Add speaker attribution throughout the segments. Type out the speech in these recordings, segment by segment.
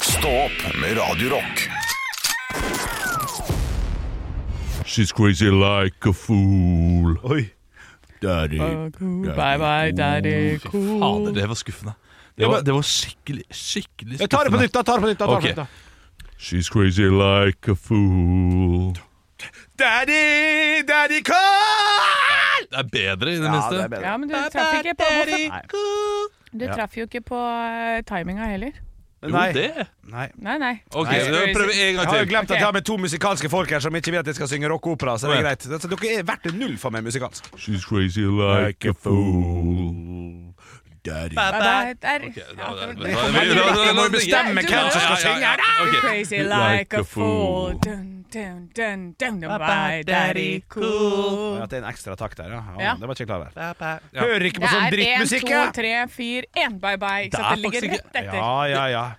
Speaker 1: Stå opp med Radio Rock.
Speaker 2: She's crazy like a fool.
Speaker 3: Oi.
Speaker 2: Daddy.
Speaker 4: Bye bye, daddy cool.
Speaker 5: Fader, det var skuffende. Det var, det var skikkelig skikkelig
Speaker 3: Jeg tar det
Speaker 5: skuffende.
Speaker 3: på nytt, da. tar det på nytt da, tar det
Speaker 5: Ok.
Speaker 3: på nytt,
Speaker 2: She's crazy like a fool.
Speaker 3: da. Daddy, daddy, call!
Speaker 5: Det er bedre, i det
Speaker 3: Ja, det
Speaker 5: minste.
Speaker 3: er bedre.
Speaker 4: Ja, men du traff ikke på hvorfor-
Speaker 3: Nei.
Speaker 4: Du traff jo ikke på eh, timinga heller.
Speaker 3: Nei.
Speaker 5: Jo, det.
Speaker 3: Nei.
Speaker 4: Nei, nei.
Speaker 5: Ok,
Speaker 3: Nei,
Speaker 5: da prøver vi en
Speaker 3: Jeg
Speaker 5: gang
Speaker 3: har jo
Speaker 5: til.
Speaker 3: glemt at jeg har med to musikalske folk her som ikke vet at jeg skal synge rockeopera. Så det er
Speaker 5: Ja.
Speaker 3: greit altså, Dere er verdt en null for meg musikalsk.
Speaker 2: She's crazy like a fool. Daddy.
Speaker 4: Bye bye, der.
Speaker 5: Ok, da-
Speaker 4: Ja,
Speaker 5: da-
Speaker 4: det
Speaker 5: da-
Speaker 4: var-
Speaker 5: da- da- da- da-
Speaker 3: Jeg må jo
Speaker 5: da-
Speaker 3: bestemme
Speaker 4: hvem som skal
Speaker 5: Ja, ja, ja, ja, ja. Ok.
Speaker 4: Crazy like a fool. Dun, dun, dun, dun, dun, bye, daddy cool.
Speaker 3: At det er en ekstra takt der, ja. ja,
Speaker 4: Ja.
Speaker 3: Det var ikke jeg klar over.
Speaker 5: Ja.
Speaker 3: Hører ikke
Speaker 4: Det
Speaker 3: på sånn
Speaker 4: er én,
Speaker 3: drittmusikk,
Speaker 4: to, tre, fire, én bye bye. Ikke
Speaker 5: Det
Speaker 4: sant?
Speaker 5: er
Speaker 4: Det ligger
Speaker 5: faktisk
Speaker 4: rett etter.
Speaker 3: Ja, ja, ja.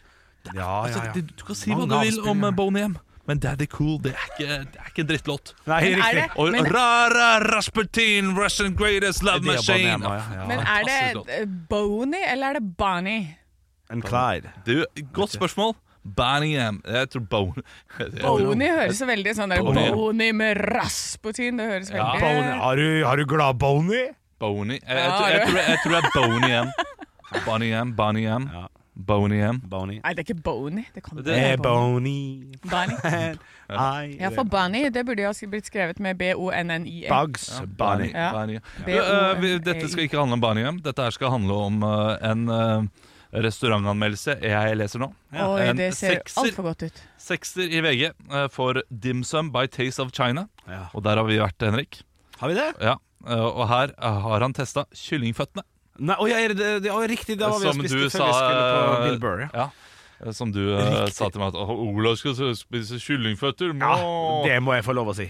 Speaker 3: Ja, ja,
Speaker 5: Altså,
Speaker 3: ja.
Speaker 5: det- Du kan si hva
Speaker 3: Mange
Speaker 5: du vil om
Speaker 3: avspillere.
Speaker 5: eh, Boney M, men Daddy Cool det er ikke, det er ikke en drittlåt.
Speaker 3: Nei,
Speaker 4: Men er
Speaker 3: riktig.
Speaker 4: det-
Speaker 5: Og
Speaker 4: Men-
Speaker 5: Rara Rasputin, Russian greatest love
Speaker 3: Det er
Speaker 5: machine.
Speaker 3: Boney M, ja, ja.
Speaker 4: Men er
Speaker 5: Fantastisk
Speaker 4: det Boney eller er det Bonnie?
Speaker 3: En Clyde.
Speaker 5: Du, godt spørsmål. Boney M. Jeg tror Boney
Speaker 4: Boney høres så veldig sånn der
Speaker 5: Boney.
Speaker 4: Boney med Rasputin. Det høres
Speaker 5: Ja.
Speaker 3: Boney.
Speaker 4: veldig
Speaker 3: Har du, har du glad Boney?
Speaker 5: Boney jeg, jeg, tror- jeg, tror- jeg tror det er Boney M. Boney M, Boney M.
Speaker 3: Ja.
Speaker 5: Boney M.
Speaker 3: Boney.
Speaker 4: Nei, det er ikke Boney. Det kan
Speaker 5: Det
Speaker 4: ikke være
Speaker 3: Eh,
Speaker 4: Boney.
Speaker 3: Boney.
Speaker 4: Bonnie.
Speaker 3: I
Speaker 4: Ja, for Bonnie, det burde jo ha blitt skrevet med B-O-N-N-I-E.
Speaker 3: Bugs
Speaker 5: Ja,
Speaker 3: Bunny.
Speaker 4: Ja.
Speaker 5: Boney.
Speaker 4: B
Speaker 5: Du, eh, vi-
Speaker 4: O N E I.
Speaker 5: dette skal ikke handle om Boney M. Dette her skal handle om eh, en eh, restaurantanmeldelse jeg leser nå.
Speaker 4: Oi,
Speaker 5: En
Speaker 4: det ser
Speaker 5: sekser.
Speaker 4: altfor godt ut.
Speaker 5: Sekser i VG eh, for Dim Sum by Taste of China.
Speaker 3: Ja.
Speaker 5: Og der har vi vært, Henrik.
Speaker 3: Har vi det?
Speaker 5: Ja, eh, Og her eh, har han testa kyllingføttene.
Speaker 3: Nei, å, ja, er det, det, det, å, riktig, det var vi og
Speaker 5: Som
Speaker 3: spiste
Speaker 5: du
Speaker 3: før
Speaker 5: sa
Speaker 3: vi skulle på
Speaker 5: eh,
Speaker 3: Bill Burr. Ja.
Speaker 5: ja. eh, Som du eh, sa til meg at «Åh, Olav skal spise kyllingføtter.
Speaker 3: Ja,
Speaker 5: må».
Speaker 3: det må jeg få lov å si.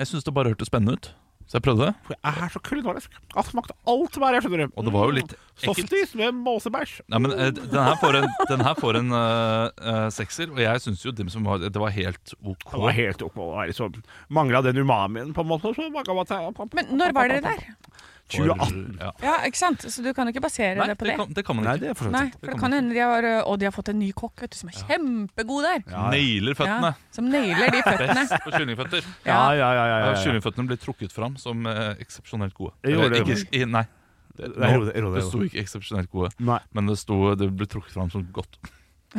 Speaker 5: Jeg syns det bare hørtes spennende ut, så jeg prøvde. det
Speaker 3: For jeg er så kulinarisk. Jeg smakte alt hver jeg skjønner. Mm.
Speaker 5: Og det var jo litt ekkelt.
Speaker 3: Softis med måsebæsj.
Speaker 5: Nei, men eh, Den her får en, den her får en eh, eh, sekser, og jeg syns jo Dim Sum var, det var helt OK.
Speaker 3: Det var helt ok. å være så- Mangla den umamien, på en måte. Så man kan bare ta-
Speaker 4: Men når var dere der?
Speaker 5: For-
Speaker 3: 2018.
Speaker 5: Ja.
Speaker 4: Ja, ikke sant? Så du kan jo ikke basere
Speaker 5: Nei,
Speaker 4: det på
Speaker 5: det
Speaker 4: det.
Speaker 5: kan, det kan man
Speaker 3: Nei,
Speaker 5: ikke.
Speaker 3: det er for så
Speaker 4: Nei,
Speaker 3: vidt.
Speaker 4: for det kan hende de har, eh, Og de har fått en ny kokk vet du, som er kjempegod der.
Speaker 5: Nailer føttene.
Speaker 4: Ja, som nailer de føttene.
Speaker 5: Best på kyllingføtter.
Speaker 4: Ja.
Speaker 3: Ja, ja, ja. ja, ja,
Speaker 5: Ja,
Speaker 3: ja.
Speaker 5: Kyllingføttene ble trukket fram som eh, eksepsjonelt gode.
Speaker 3: Jeg gjorde
Speaker 5: Eller,
Speaker 3: det.
Speaker 5: ikke, i- nei,
Speaker 3: Det
Speaker 5: Nå,
Speaker 3: er ro- det er ro- det
Speaker 5: det
Speaker 3: er
Speaker 5: sto
Speaker 3: ro.
Speaker 5: ikke eksepsjonelt gode,
Speaker 3: Nei.
Speaker 5: men det, sto, det ble trukket fram som godt.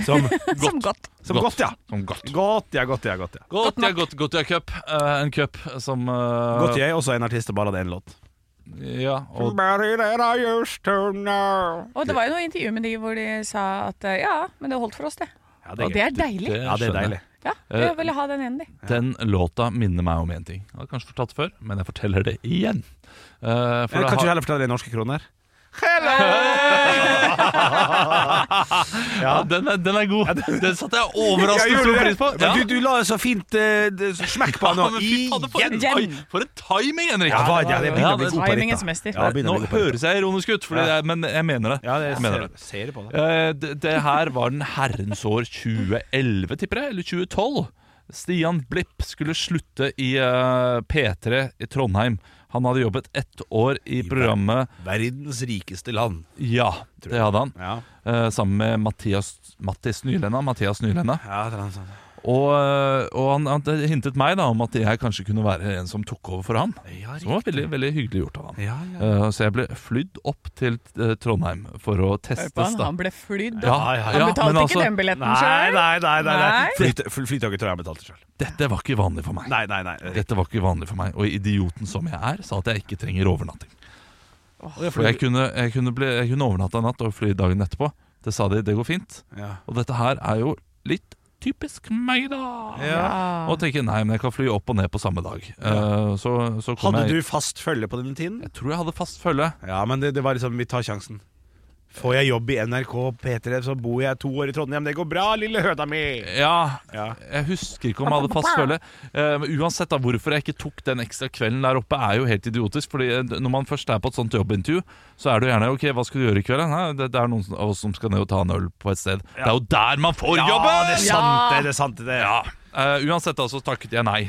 Speaker 3: Som,
Speaker 4: Som godt.
Speaker 3: som godt, ja.
Speaker 5: Som godt.
Speaker 3: Godt, ja, godt, ja. Godt, ja.
Speaker 5: Godt, ja, godt, godt, ja, cup. Eh, en cup som eh,
Speaker 3: Godt jeg også er en artist og bare hadde én låt.
Speaker 5: Ja, og
Speaker 3: Somebody that I used to know.
Speaker 4: Og det var jo noe intervju med de hvor de sa at eh, ja, men det holdt for oss, det.
Speaker 3: Ja,
Speaker 4: Og det
Speaker 3: gøy.
Speaker 4: er deilig.
Speaker 3: Ja, det er
Speaker 5: skjønner jeg.
Speaker 3: deilig.
Speaker 4: Ja,
Speaker 5: Eh,
Speaker 4: jeg ville ha den ene, de.
Speaker 5: Den låta minner meg om én ting. Jeg har kanskje fortalt det før, men jeg forteller det igjen. Eh, for
Speaker 3: Ja,
Speaker 5: det
Speaker 3: kan ikke du
Speaker 5: har,
Speaker 3: heller fortelle det i norske kroner?
Speaker 5: ja, den, er, den er god. Den satte jeg
Speaker 3: Jeg
Speaker 5: overraskende
Speaker 3: gjorde
Speaker 5: stor
Speaker 3: det.
Speaker 5: pris på.
Speaker 3: Men
Speaker 5: Ja.
Speaker 3: du, du la så fint eh, det- smekk på
Speaker 5: Ja,
Speaker 3: han nå.
Speaker 5: men fy faen, for en
Speaker 4: Igjen.
Speaker 5: ti- For en timing, Henrik!
Speaker 3: Ja, hva- ja, det begynner å bli
Speaker 5: Ja, det-
Speaker 3: god på litt,
Speaker 4: Timingens
Speaker 3: da.
Speaker 4: mester.
Speaker 3: Ja, begynner å
Speaker 5: Nå
Speaker 3: bli god på litt.
Speaker 5: høres jeg ironisk ut, fordi det er, men jeg mener det.
Speaker 3: Ja, det
Speaker 5: jeg mener
Speaker 3: ser,
Speaker 5: det.
Speaker 3: ser du på det.
Speaker 5: Eh, det, det her var den herrens år 2011, tipper jeg, eller 2012. Stian Blipp skulle slutte i eh, P3 i Trondheim. Han hadde jobbet ett år i programmet
Speaker 3: Verdens rikeste land.
Speaker 5: Ja, det hadde han.
Speaker 3: Ja,
Speaker 5: eh, sammen med Mathias, Mattis Nylenda. Mathias Nylenda.
Speaker 3: ja det er noe sånt.
Speaker 5: Og, eh, og han, han hintet meg da om at jeg kanskje kunne være en som tok over for han.
Speaker 3: Ja,
Speaker 5: Som var veldig, veldig hyggelig gjort av han.
Speaker 3: Ja, ja.
Speaker 5: Eh, så jeg ble flydd opp til eh, Trondheim for å
Speaker 4: Hør på han,
Speaker 5: testes, da.
Speaker 4: han ble flydd.
Speaker 5: Ja,
Speaker 3: Ja, ja, ja.
Speaker 4: Han betalte
Speaker 5: men altså,
Speaker 4: ikke den billetten
Speaker 3: Nei,
Speaker 4: sjøl.
Speaker 3: nei, nei. nei, nei.
Speaker 4: Nei.
Speaker 3: Flyt- fly- Flytoget tror jeg han betalte sjøl.
Speaker 5: Dette var ikke vanlig for meg.
Speaker 3: Nei, nei, nei.
Speaker 5: Dette var ikke vanlig for meg, og idioten som jeg er, sa at jeg ikke trenger overnatting. For jeg kunne, jeg kunne, bli, jeg kunne overnatte en natt og fly dagen etterpå. Det sa de, det går fint.
Speaker 3: Ja.
Speaker 5: Og dette her er jo litt typisk meg, da. Og tenke nei, men jeg kan fly opp og ned på samme dag. Eh, så, så kom
Speaker 3: Hadde
Speaker 5: jeg
Speaker 3: du fast følge på denne tiden?
Speaker 5: Jeg tror jeg hadde fast følge.
Speaker 3: Ja, men det, det var liksom Vi tar sjansen. Får jeg jobb i NRK P3, så bor jeg to år i Trondheim. Det går bra, lille høna mi!
Speaker 5: Ja,
Speaker 3: Ja.
Speaker 5: jeg husker ikke om jeg hadde fast følge. Eh, men uansett da, hvorfor jeg ikke tok den ekstra kvelden der oppe, er jo helt idiotisk. Fordi eh, når man først er på et sånt jobbintervju, så er det jo gjerne Ok, hva skal du gjøre i kveld? da? Nei, det, det er noen som- av oss som skal ned og ta en øl på et sted. Det er jo der man får
Speaker 3: Ja,
Speaker 5: jobben!
Speaker 3: det er sant, det. det, er sant, det.
Speaker 5: Ja. Eh, uansett da, så takket jeg nei.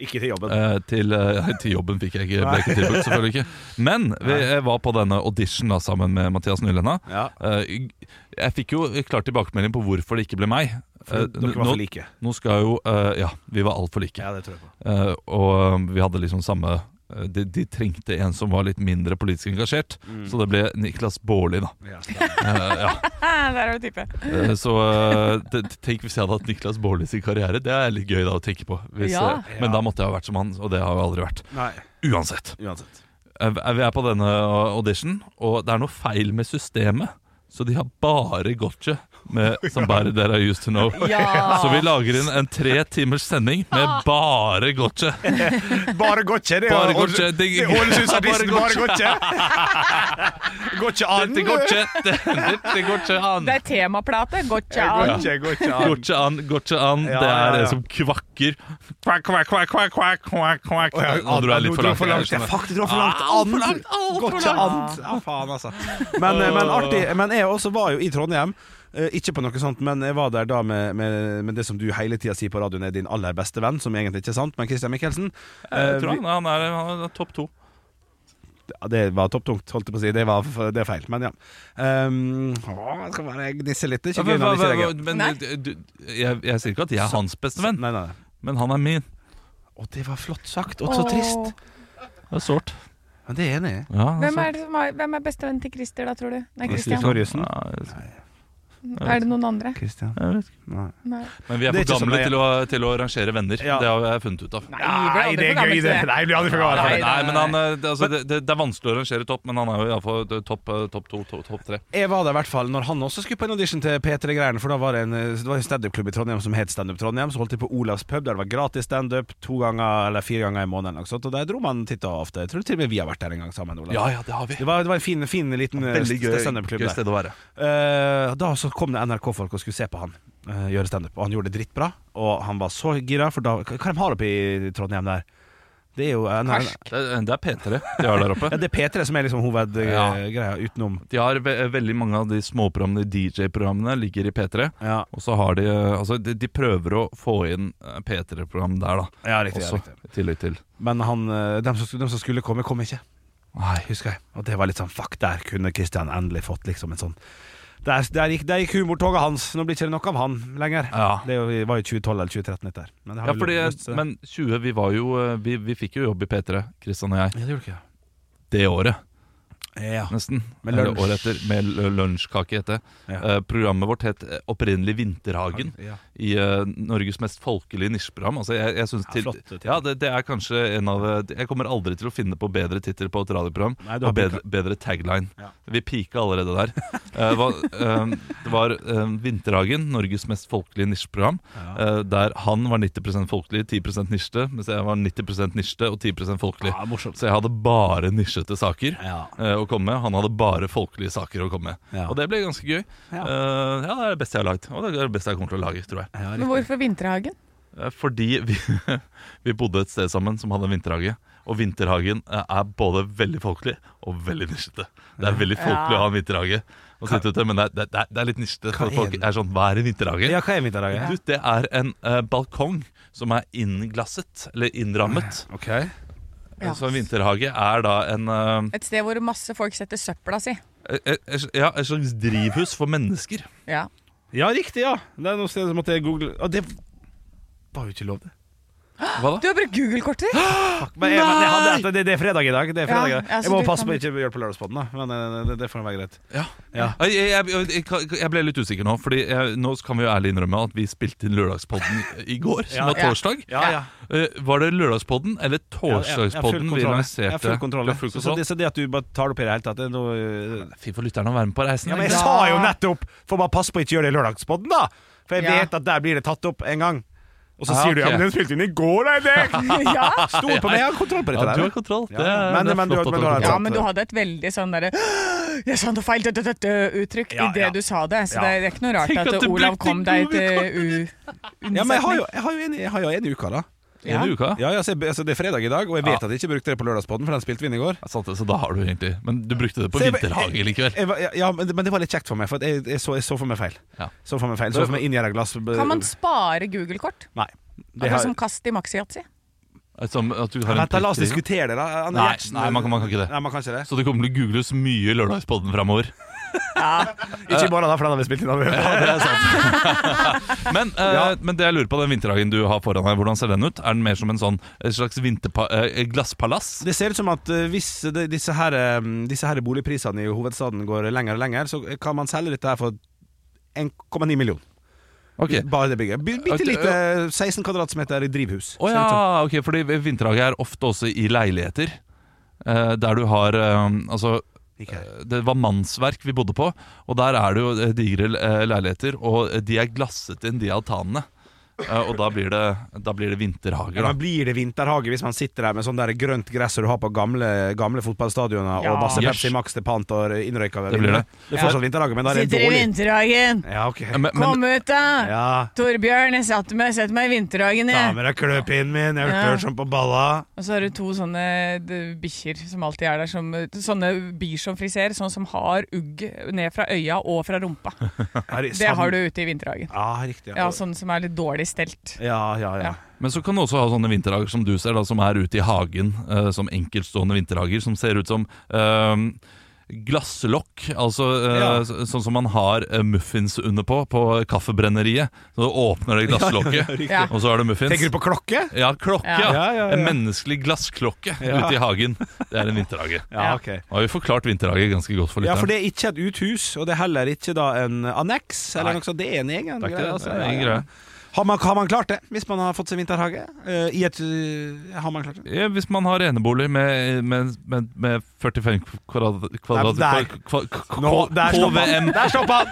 Speaker 3: Ikke til jobben.
Speaker 5: Eh, til, eh, til jobben fikk jeg ikke, ble ikke tilbudt, selvfølgelig ikke. Men vi jeg var på denne audition da, sammen med Mathias Nylenda.
Speaker 3: Ja.
Speaker 5: Eh, jeg fikk jo klar tilbakemelding på hvorfor det ikke ble meg. Eh,
Speaker 3: Dere var
Speaker 5: nå,
Speaker 3: for like.
Speaker 5: nå skal jo eh, Ja, vi var altfor like.
Speaker 3: Ja, det tror jeg på.
Speaker 5: Eh, og vi hadde liksom samme eh, de, de trengte en som var litt mindre politisk engasjert, så det ble Niklas Baarli, da.
Speaker 3: Mm. Ja, stemmer.
Speaker 5: Eh, ja.
Speaker 4: Der er du type.
Speaker 5: Eh, så eh, det, tenk hvis jeg hadde hatt Niklas Baarli sin karriere. Det er litt gøy da å tenke på. Hvis,
Speaker 4: Ja.
Speaker 5: eh, Men da måtte jeg ha vært som han, og det har jeg aldri vært.
Speaker 3: Nei,
Speaker 5: Uansett.
Speaker 3: uansett.
Speaker 5: Eh, Vi er på denne audition, og det er noe feil med systemet. Så de har bare gotcha med Somebody That I Used To Know.
Speaker 4: Ja.
Speaker 5: Så vi lager inn en tre timers sending
Speaker 4: Ah.
Speaker 5: med bare gotcha.
Speaker 3: Bare godt kjenne.
Speaker 5: Bare godt kjenne.
Speaker 3: Det er Ålesundsartisten,
Speaker 5: Bare
Speaker 3: bare godt kjenne. Går ikke an.
Speaker 5: Dette gotcha, dette gotcha an.
Speaker 4: Det er temaplate. Gotcha.
Speaker 3: Går ikke, går ikke an.
Speaker 5: Gotcha an, gotcha an.
Speaker 3: Ja,
Speaker 5: Det
Speaker 3: ja,
Speaker 5: er
Speaker 3: ja.
Speaker 5: det som kvakker. Kvakk, kvakk, kvakk, kvakk, kvakk, kvakk, kvakk.
Speaker 3: Å, ja,
Speaker 5: Nå dro jeg litt for
Speaker 3: nå dro
Speaker 5: langt. jeg
Speaker 3: jeg for langt. Jeg
Speaker 5: skjønner.
Speaker 3: fuck, det dro for langt.
Speaker 5: Alt for
Speaker 3: An.
Speaker 5: langt, alt for
Speaker 3: Godt ikke
Speaker 5: langt.
Speaker 3: an. Ja, faen, altså. Men, eh, men artig. Men jeg også var jo i Trondheim. eh, Ikke på noe sånt, men jeg var der da med, med, med det som du hele tida sier på radioen er din aller beste venn, som egentlig ikke er sant, men Christian Michelsen. Eh,
Speaker 5: Jeg tror han, han er, han er topp to.
Speaker 3: Ja, det var topptungt, holdt jeg på å si. Det, var, det er feil, men ja. Um, å, jeg skal bare gnisse litt. Ikke
Speaker 5: Men,
Speaker 3: grine av disse reglene.
Speaker 5: men,
Speaker 4: Nei.
Speaker 5: du, jeg, jeg sier ikke at jeg er hans beste venn,
Speaker 3: Nei, nei, nei.
Speaker 5: men han er min.
Speaker 3: Å, det var flott sagt, og så trist.
Speaker 5: Det er sårt.
Speaker 3: Men det er jeg enig i.
Speaker 5: Ja, det
Speaker 4: Hvem er, det som har, hvem er bestevennen til Christer, da, tror du? Nei, Christian.
Speaker 3: Torjussen?
Speaker 5: Ja, jeg vet ikke.
Speaker 4: Er det noen andre?
Speaker 3: Kristian.
Speaker 5: Jeg vet ikke.
Speaker 3: Nei.
Speaker 4: Nei.
Speaker 5: Men vi er
Speaker 3: Det
Speaker 5: for
Speaker 3: er ikke
Speaker 5: gamle
Speaker 3: sånn jeg-
Speaker 5: til å, til å rangere venner.
Speaker 3: Ja.
Speaker 5: Det har jeg funnet ut av. Nei,
Speaker 4: Nei, det er aldri for gammel til det.
Speaker 3: Nei, blir aldri for gammel.
Speaker 5: nei, men han, eh, det, altså, det, det det er vanskelig å rangere topp, men han er jo iallfall topp eh, topp to, to- topp tre.
Speaker 3: Jeg var der i hvert fall når han også skulle på en audition til P3-greiene. For da var det en, det var en standup-klubb i Trondheim som het Standup Trondheim. Så holdt de på Olavs pub, der det var gratis standup to ganger eller fire ganger i måneden. eller noe sånt, Og der dro man titt og ofte. Jeg tror til og med vi har vært der en gang sammen, Olav.
Speaker 5: Ja, ja, det har vi.
Speaker 3: Det var, det var en fin, fin liten eh,
Speaker 5: Veldig gøy,
Speaker 3: standup-klubb
Speaker 5: gøy
Speaker 3: der.
Speaker 5: sted å være.
Speaker 3: Eh, da så kom det NRK-folk og skulle se på han eh, gjøre standup, og han gjorde det drittbra. Og han var så gira, for da Hva hva de har oppe i Trondheim der? Det er jo eh, nei,
Speaker 5: Det, det er P3 de har der oppe.
Speaker 3: ja, det er P3 som er liksom hovedgreia, utenom
Speaker 5: De har ve veldig mange av de småprogrammene, DJ-programmene, ligger i P3.
Speaker 3: Ja,
Speaker 5: Og så har de eh, Altså, de, de prøver å få inn eh, P3-program der, da.
Speaker 3: ja riktig. Ja,
Speaker 5: Også,
Speaker 3: riktig.
Speaker 5: i tillegg til.
Speaker 3: Men han, eh, dem, som, skulle- dem som skulle komme, kom ikke,
Speaker 5: Nei,
Speaker 3: husker jeg. Og det var litt sånn fuck, der kunne Kristian endelig fått liksom en sånn Der, der, gikk, der gikk humortoget hans. Nå blir ikke det noe av han lenger.
Speaker 5: Ja.
Speaker 3: Det er jo, vi var jo 2012 eller 2013 dette her. Men, det har
Speaker 5: Ja,
Speaker 3: vel
Speaker 5: fordi,
Speaker 3: lyst til det.
Speaker 5: men 20, vi var jo eh, Vi, vi fikk jo jobb i P3, Kristian og jeg,
Speaker 3: ja, det gjorde ikke jeg.
Speaker 5: det året,
Speaker 3: Ja.
Speaker 5: nesten.
Speaker 3: Med
Speaker 5: Eller
Speaker 3: lunsj.
Speaker 5: året etter, med l- lunsjkake, het det.
Speaker 3: Ja.
Speaker 5: Eh, programmet vårt het eh, opprinnelig Vinterhagen,
Speaker 3: Ja.
Speaker 5: i eh, Norges mest folkelige nisjeprogram. Altså, jeg, jeg synes
Speaker 3: Ja,
Speaker 5: til,
Speaker 3: flott tittel.
Speaker 5: ja, det, det er kanskje en av eh, Jeg kommer aldri til å finne på bedre tittel på et radioprogram.
Speaker 3: Nei, du har
Speaker 5: og bedre, bedre tagline.
Speaker 3: Ja.
Speaker 5: Vi pika allerede der. Eh, hva, eh, det var eh, Vinterhagen, Norges mest folkelige nisjeprogram.
Speaker 3: Ja.
Speaker 5: Eh, der han var 90 folkelig, 10 nisjete, mens jeg var 90 nisjete og 10 folkelig.
Speaker 3: Ja, morsomt.
Speaker 5: Så jeg hadde bare nisjete saker
Speaker 3: Ja.
Speaker 5: eh, å komme med. Han hadde bare folkelige saker å komme med.
Speaker 3: Ja.
Speaker 5: Og det ble ganske gøy.
Speaker 3: Ja.
Speaker 5: Eh, ja, det er det beste jeg har lagd, og det er det beste jeg kommer til å lage, tror jeg.
Speaker 3: Ja,
Speaker 4: Men
Speaker 3: riktig.
Speaker 4: hvorfor Vinterhagen?
Speaker 5: Eh, Fordi vi, vi bodde et sted sammen som hadde en vinterhage. Og vinterhagen eh, er både veldig folkelig og veldig nisjete. Det er veldig folkelig å ha en vinterhage, og sitte ute, men det er, det er, det er litt nisjete.
Speaker 3: Hva
Speaker 5: for Folk
Speaker 3: er det?
Speaker 5: er sånn Hva er en vinterhage?
Speaker 3: Ja, hva er middagen?
Speaker 5: Du, det er en eh, balkong som er innglasset, eller innrammet.
Speaker 3: Ok
Speaker 4: Ja.
Speaker 5: Så en sånn vinterhage er da en eh,
Speaker 4: Et sted hvor masse folk setter søpla si.
Speaker 5: et, et, ja, et slags drivhus for mennesker.
Speaker 4: Ja.
Speaker 3: Ja, riktig, ja. Det er noe sted som måtte jeg google Og det var jo ikke lov, det.
Speaker 5: Hva da?
Speaker 4: Du har brukt Google-kortet ditt!
Speaker 3: Men jeg, men jeg hadde, dette- det, det er fredag i dag. Det er fredag i dag.
Speaker 4: Ja, ja, så
Speaker 3: jeg må
Speaker 4: du
Speaker 3: passe
Speaker 4: kan-
Speaker 3: på ikke å gjøre det på lørdagspodden, da. Men eh, det, det får være greit.
Speaker 5: Ja.
Speaker 3: Ja.
Speaker 5: Jeg, jeg, jeg, jeg- jeg ble litt usikker nå, Fordi jeg, nå kan vi jo ærlig innrømme at vi spilte inn Lørdagspodden i går, som var
Speaker 4: Ja.
Speaker 5: torsdag.
Speaker 3: Ja, ja.
Speaker 5: Eh, var det Lørdagspodden eller
Speaker 3: Ja, jeg- jeg har full
Speaker 5: Torsdagspodden vi
Speaker 3: kontroll, jeg. Jeg
Speaker 5: lanserte?
Speaker 3: har full kontroll.
Speaker 5: Du
Speaker 3: jeg.
Speaker 5: har full
Speaker 3: Så, så,
Speaker 5: kontroll.
Speaker 3: det, så det at du bare tar det opp i det hele tatt, det er noe eh,
Speaker 5: Fy for lytterne å være med på reisen.
Speaker 3: Ja, men jeg
Speaker 5: ikke sant?
Speaker 3: sa jo nettopp Får bare passe på å ikke gjøre det i lørdagspodden, da. For jeg
Speaker 4: Ja.
Speaker 3: vet at der blir det tatt opp en gang. Og så
Speaker 5: Ah,
Speaker 3: sier du ja,
Speaker 5: ok.
Speaker 3: men den spilte inn i går, nei, det!
Speaker 4: ja.
Speaker 3: Stol på meg, jeg har kontroll på
Speaker 5: ja,
Speaker 3: dette
Speaker 5: du har
Speaker 3: der.
Speaker 5: kontroll. Det
Speaker 3: Ja,
Speaker 5: er,
Speaker 3: ja. Men-
Speaker 5: det er
Speaker 3: men du-
Speaker 5: flott at
Speaker 3: men
Speaker 5: har
Speaker 3: du har-
Speaker 5: kontroll.
Speaker 4: ja, men du hadde et veldig sånn derre Jeg sa noe feil! Dø-dø-dø-uttrykk
Speaker 3: Ja,
Speaker 4: i det
Speaker 3: ja.
Speaker 4: du sa det. Så
Speaker 3: Ja.
Speaker 4: det er ikke noe rart
Speaker 5: Tenk
Speaker 4: at,
Speaker 5: at du
Speaker 4: Olav
Speaker 5: brukte
Speaker 4: kom deg til
Speaker 5: Google-kortet
Speaker 4: u-
Speaker 3: Ja, men jeg har jo, jeg har jo en, jeg har jo en i uka, da.
Speaker 5: Ja.
Speaker 4: Ja.
Speaker 5: Hele uka.
Speaker 3: Ja, ja, så jeg, altså Det er fredag i dag, og jeg vet
Speaker 5: Ja.
Speaker 3: at jeg ikke brukte det på lørdagspodden, for den spilte vi inn i går.
Speaker 5: Ja, sant det, så da har du egentlig Men du brukte det på
Speaker 3: Så jeg-
Speaker 5: vinterhage likevel.
Speaker 3: Jeg var, ja, men det, men det var litt kjekt for meg, for at jeg, jeg, så, jeg så for meg feil.
Speaker 5: Ja.
Speaker 3: Så for meg feil, så for meg inngjerda glass
Speaker 4: Kan man spare Google-kort?
Speaker 3: Nei. Det
Speaker 4: Akkurat
Speaker 3: har,
Speaker 4: som kast i maxi-yatzy.
Speaker 5: Som at du har en
Speaker 3: Vent, da, la oss
Speaker 5: prikkering.
Speaker 3: diskutere det, da. Anne
Speaker 5: Nei,
Speaker 3: Gjertsen-
Speaker 5: nei man, kan, man kan ikke det.
Speaker 3: Nei, man kan ikke det.
Speaker 5: Så det kommer til å googles mye Lørdagspodden framover.
Speaker 3: Ikke i morgen, da, for den har vi spilt inn
Speaker 5: eh,
Speaker 3: allerede.
Speaker 5: Ja, det er sant. men, eh, men det jeg lurer på, den vinterdagen du har foran deg, hvordan ser den ut? Er den mer som en sånn, et slags vinterpa eh, glasspalass?
Speaker 3: Det ser ut som at eh, hvis de- disse her, eh, disse her boligprisene i hovedstaden går lenger og lenger, så kan man selge dette her for 1,9 millioner.
Speaker 5: Ok.
Speaker 3: Bare det bygget. Bi- Bitte lite 16 kvadratmeter i drivhus.
Speaker 5: Å
Speaker 3: ser det
Speaker 5: ja,
Speaker 3: ut som.
Speaker 5: ok, fordi vinterhage er ofte også i leiligheter. eh, Der du har eh, Altså,
Speaker 3: Ikke her.
Speaker 5: eh, det var mannsverk vi bodde på, og der er det jo eh, digre eh, leiligheter, og eh, de er glasset inn, de altanene. Eh, Og da blir det, da blir det vinterhager,
Speaker 3: Men
Speaker 5: da.
Speaker 3: blir det vinterhage hvis man sitter der med sånn der grønt gress som du har på gamle, gamle fotballstadioner, og
Speaker 4: Ja.
Speaker 3: masse
Speaker 5: Yes.
Speaker 3: Pepsi Max til pant og innrøyka ved
Speaker 5: Det blir
Speaker 3: vinduet?
Speaker 5: det.
Speaker 3: Det er fortsatt vinterhage, men da er det
Speaker 4: Sitter i
Speaker 3: dårlig.
Speaker 4: vinterhagen.
Speaker 3: Ja, ok.
Speaker 5: Eh, Men, men
Speaker 4: Kom ut, da!
Speaker 3: Ja,
Speaker 4: Torbjørn, jeg satte meg, setter meg i vinterhagen,
Speaker 3: ta
Speaker 4: jeg.
Speaker 3: med deg kløpinnen min, jeg har
Speaker 4: Ja.
Speaker 3: hørt sånn på balla.
Speaker 4: Og så har du to sånne d- bikkjer som alltid er der. Som, sånne bier som friser, sånne som har ugg ned fra øya og fra rumpa.
Speaker 3: Her i
Speaker 4: Det
Speaker 3: sand-
Speaker 4: har du ute i vinterhagen.
Speaker 3: Ja, riktig.
Speaker 4: Ja, Sånne som er litt dårlig stelt.
Speaker 3: ja, ja. ja.
Speaker 4: Ja.
Speaker 5: Men så kan du også ha sånne vinterhager som du ser, da, som er ute i hagen. eh, som enkeltstående vinterhager som ser ut som eh, glasslokk. Altså eh,
Speaker 3: Ja.
Speaker 5: så- sånn som man har eh, muffins under på på kaffebrenneriet. Så åpner det glasslokket,
Speaker 4: Ja.
Speaker 5: og så er det muffins.
Speaker 3: Tenker du på klokke?
Speaker 5: Ja, klokke.
Speaker 4: Ja.
Speaker 5: Ja.
Speaker 3: Ja, ja, ja.
Speaker 5: En menneskelig glassklokke
Speaker 3: Ja.
Speaker 5: ute i hagen. Det er en vinterhage.
Speaker 3: Ja,
Speaker 4: Ja.
Speaker 3: ok
Speaker 5: Nå har vi forklart vinterhage ganske godt for
Speaker 3: Ja,
Speaker 5: lytteren.
Speaker 3: for det er ikke et uthus, og det er heller ikke da en anneks. Eller
Speaker 5: Nei.
Speaker 3: noe sånt. Det er en egen
Speaker 5: Det er ikke
Speaker 3: greie.
Speaker 5: det,
Speaker 3: altså.
Speaker 5: det er en
Speaker 3: Ja, ja.
Speaker 5: greie.
Speaker 3: Har, man, har man klart det, hvis man har fått seg vinterhage? Eh, I et eh, Har man klart det?
Speaker 5: Ja, Hvis man har enebolig med, med, med, med 45 kvadrat... kvadrat
Speaker 3: Nei, der.
Speaker 5: kva- kva- kva-
Speaker 3: Nå, der stopper han.
Speaker 5: KVM.
Speaker 3: Der stoppa han!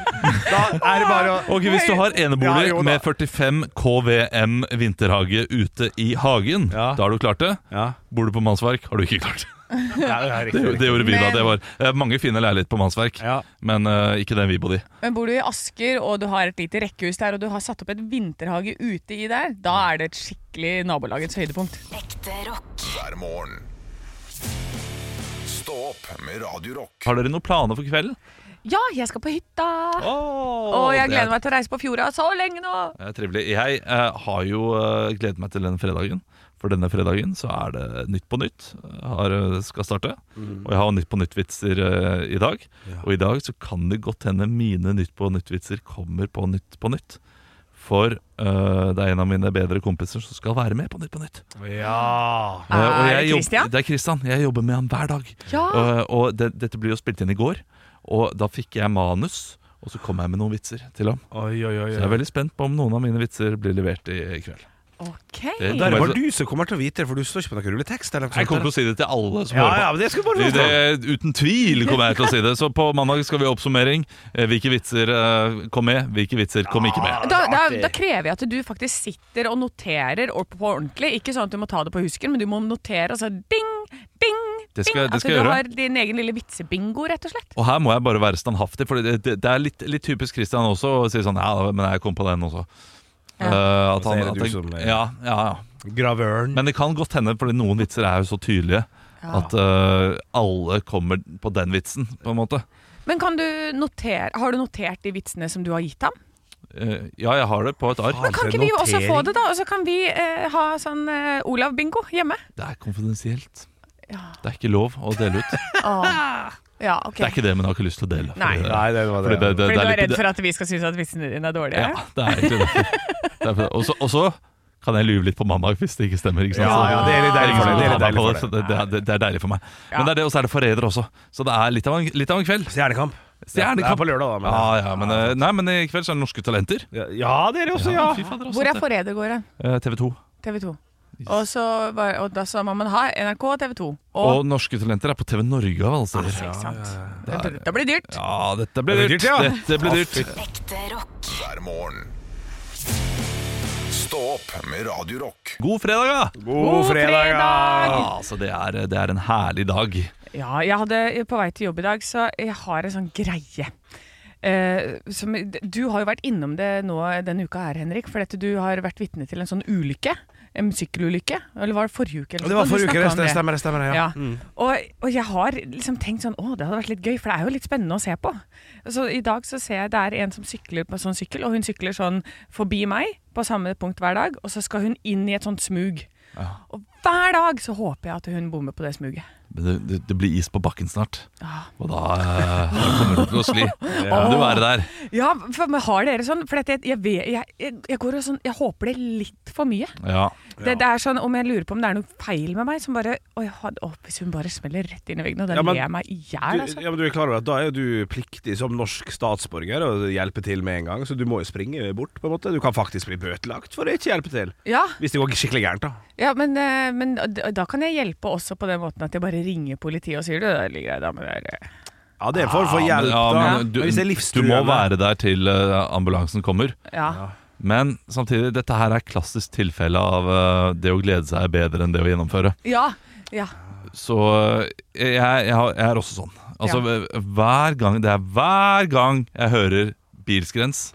Speaker 3: Da er det bare å
Speaker 5: Ok, Hvis du har enebolig
Speaker 3: Ja, jo da.
Speaker 5: med 45 KVM vinterhage ute i hagen,
Speaker 3: Ja.
Speaker 5: da har du klart det.
Speaker 3: Ja,
Speaker 5: Bor du på mannsverk, har du ikke klart det.
Speaker 3: ja det er
Speaker 5: Det,
Speaker 3: riktig.
Speaker 5: det gjorde vi da.
Speaker 4: Men-
Speaker 5: det var eh, Mange fine leiligheter på mannsverk,
Speaker 3: Ja.
Speaker 5: men eh, ikke den vi bodde i.
Speaker 4: Men bor du i Asker, og du har et lite rekkehus der, og du har satt opp et vinterhage ute i der, da er det et skikkelig nabolagets høydepunkt.
Speaker 6: Ekte rock.
Speaker 1: hver morgen. Stå opp med Radio Rock.
Speaker 5: Har dere noen planer for kvelden?
Speaker 4: Ja, jeg skal på hytta!
Speaker 5: Oh,
Speaker 4: Og jeg gleder meg til å reise på fjorda så lenge nå!
Speaker 5: Det er trivelig. Jeg eh, har jo eh, gledet meg til denne fredagen. For denne fredagen så er det Nytt på nytt eh, har, eh, skal starte. Og jeg har Nytt på nytt-vitser eh, i dag. Og i dag så kan det godt hende mine Nytt på nytt-vitser kommer på Nytt på nytt. For eh, det er en av mine bedre kompiser som skal være med på Nytt på nytt.
Speaker 3: Ja.
Speaker 5: Eh, og
Speaker 4: Ah, Er
Speaker 5: jeg
Speaker 4: det
Speaker 5: jobb-
Speaker 4: Christian?
Speaker 5: Det er Christian. Jeg jobber med han hver dag.
Speaker 4: Ja!
Speaker 5: Og, og det, dette blir jo spilt inn i går. Og da fikk jeg manus, og så kom jeg med noen vitser til ham.
Speaker 3: Oi, oi, oi.
Speaker 5: Så jeg er veldig spent på om noen av mine vitser blir levert i i kveld.
Speaker 4: Ok.
Speaker 5: Det-
Speaker 3: Der var du som kommer til å vite det, for du står ikke på noen rulletekst. Eller noe
Speaker 5: Jeg kommer til å
Speaker 3: sånt.
Speaker 5: si det til alle som
Speaker 3: Ja, ja,
Speaker 5: hører på.
Speaker 3: men det skal bare
Speaker 5: Det,
Speaker 3: være sånn.
Speaker 5: det, uten tvil kommer jeg til å si det. Så på mandag skal vi ha oppsummering. Eh, Hvilke vitser eh, kom med, hvilke vitser kom ikke med.
Speaker 4: Da, da, da krever jeg at du faktisk sitter og noterer og på ordentlig. Ikke sånn at du må ta det på husken, men du må notere altså ding, ding,
Speaker 5: Det skal-
Speaker 4: ding.
Speaker 5: det skal jeg
Speaker 4: at du
Speaker 5: gjøre.
Speaker 4: har din egen lille vitsebingo, rett og slett.
Speaker 5: Og her må jeg bare være standhaftig, for det, det, det er litt, litt typisk Christian også å si sånn Ja, men jeg kom på den også.
Speaker 4: Ja.
Speaker 5: Eh, at
Speaker 3: Så
Speaker 5: han,
Speaker 3: er det
Speaker 5: at
Speaker 3: du
Speaker 5: jeg-
Speaker 3: som er-
Speaker 5: ja, ja, ja.
Speaker 3: Gravøren.
Speaker 5: Men det kan godt hende, fordi noen vitser er jo så tydelige at eh, alle kommer på den vitsen, på en måte.
Speaker 4: Men kan du notere, har du notert de vitsene som du har gitt ham?
Speaker 5: Eh, ja, jeg har det på et ark.
Speaker 4: Men kan ikke vi også få det, da? Og så kan vi eh, ha sånn eh, Olav-bingo hjemme.
Speaker 5: Det er konfidensielt.
Speaker 4: Ja.
Speaker 5: Det er ikke lov å dele ut.
Speaker 4: Ah. Ja, ok.
Speaker 5: Det er ikke det, men jeg har ikke lyst til å dele.
Speaker 4: Nei.
Speaker 5: fordi-
Speaker 3: Nei, det var
Speaker 5: Fordi
Speaker 3: det.
Speaker 5: det, det,
Speaker 4: Fordi
Speaker 5: det
Speaker 4: du er
Speaker 5: litt-
Speaker 4: redd for at vi skal synes at vitsene dine er dårlige?
Speaker 5: Ja, det er egentlig derfor. derfor. Og så- Og så kan jeg lyve litt på mandag hvis det ikke stemmer. Ikke sant?
Speaker 3: Ja,
Speaker 5: Så-
Speaker 3: ja, det er litt
Speaker 5: det er
Speaker 3: deilig
Speaker 5: ingen
Speaker 3: for
Speaker 5: som
Speaker 3: deg. Det er
Speaker 5: tar
Speaker 3: litt
Speaker 5: meg på
Speaker 3: deilig for
Speaker 5: det,
Speaker 3: deg.
Speaker 5: så det, det, er- det er deilig for meg.
Speaker 4: Ja.
Speaker 5: Men det er det, og så er det forræder også. Så det er litt av en, litt av en kveld.
Speaker 3: Stjernekamp.
Speaker 5: Stjernekamp.
Speaker 3: Det er på lørdag, da. Men,
Speaker 5: Ja, ja, men, eh, nei, men i kveld så er det Norske Talenter.
Speaker 3: ja. ja, det er det også, ja.
Speaker 5: Fy fader, altså.
Speaker 4: Hvor er Forrædergården?
Speaker 5: Eh, TV 2.
Speaker 4: TV 2. Og, så, var- og da så må man ha NRK og TV 2. Og,
Speaker 5: Og Norske Talenter er på TV Norge av alle
Speaker 4: altså,
Speaker 5: steder.
Speaker 4: ikke sant?
Speaker 5: ja, ja.
Speaker 4: Det, det blir dyrt.
Speaker 5: Ja, dette
Speaker 3: Det
Speaker 5: ble
Speaker 3: blir
Speaker 5: dyrt.
Speaker 3: dyrt, ja.
Speaker 5: Dette ble dyrt.
Speaker 6: Ekte rock.
Speaker 1: hver morgen. Stå opp med Radio Rock.
Speaker 5: God fredag, da!
Speaker 3: God fredag! ja.
Speaker 5: Ja, altså, det, er, det er en herlig dag.
Speaker 4: eh, Ja, jeg hadde på vei til jobb i dag, så jeg har en sånn greie. eh, som, Du har jo vært innom det nå denne uka her, Henrik. For dette, du har vært vitne til en sånn ulykke. En sykkelulykke. Eller var det forrige uke? Eller
Speaker 3: Det var
Speaker 4: sånn? Du
Speaker 3: forrige uke,
Speaker 4: snakket
Speaker 3: det
Speaker 4: om
Speaker 3: stemmer, det stemmer, det stemmer ja.
Speaker 4: Ja.
Speaker 3: Mm.
Speaker 4: Og, og jeg har liksom tenkt sånn Å, det hadde vært litt gøy, for det er jo litt spennende å se på. Så i dag så ser jeg det er en som sykler på sånn sykkel, og hun sykler sånn forbi meg på samme punkt hver dag, og så skal hun inn i et sånt smug. Og hver dag så håper jeg at hun bommer på det smuget.
Speaker 5: Men det, det, det blir is på bakken snart,
Speaker 4: Ah.
Speaker 5: og da, eh, da kommer du til å sli. Da må du være der.
Speaker 4: Ja, for, men har dere sånn? For dette, jeg, jeg, vet- jeg, jeg, jeg går og sånn Jeg håper det er litt for mye.
Speaker 5: Ja.
Speaker 4: Det, det er sånn, Om jeg lurer på om det er noe feil med meg som bare Å, jeg hadde, å hvis hun bare smeller rett inn i veggen, og da
Speaker 3: Ja, men-
Speaker 4: ler jeg meg i hjel,
Speaker 3: Du,
Speaker 4: altså.
Speaker 3: ja, men du er klar over at da er jo du pliktig som norsk statsborger å hjelpe til med en gang, så du må jo springe bort, på en måte. Du kan faktisk bli bøtelagt for å ikke hjelpe til.
Speaker 4: Ja,
Speaker 3: Hvis det går skikkelig gærent, da.
Speaker 4: ja men, eh, men da da kan jeg hjelpe også på den måten at jeg bare ringer politiet og sier Du, der ligger jeg da med det der, eh."
Speaker 3: Ah, Ja, det er en form for hjelp,
Speaker 5: Ja,
Speaker 3: da.
Speaker 5: men
Speaker 3: Men hvis det
Speaker 5: du, du må
Speaker 3: er livstruende
Speaker 5: være der til eh, ambulansen kommer.
Speaker 4: Ja.
Speaker 5: Men samtidig, dette her er klassisk tilfelle av eh, det å glede seg er bedre enn det å gjennomføre.
Speaker 4: ja. ja.
Speaker 5: Så eh, jeg, jeg, har- jeg er også sånn. Altså hver gang Det er hver gang jeg hører bilskrens,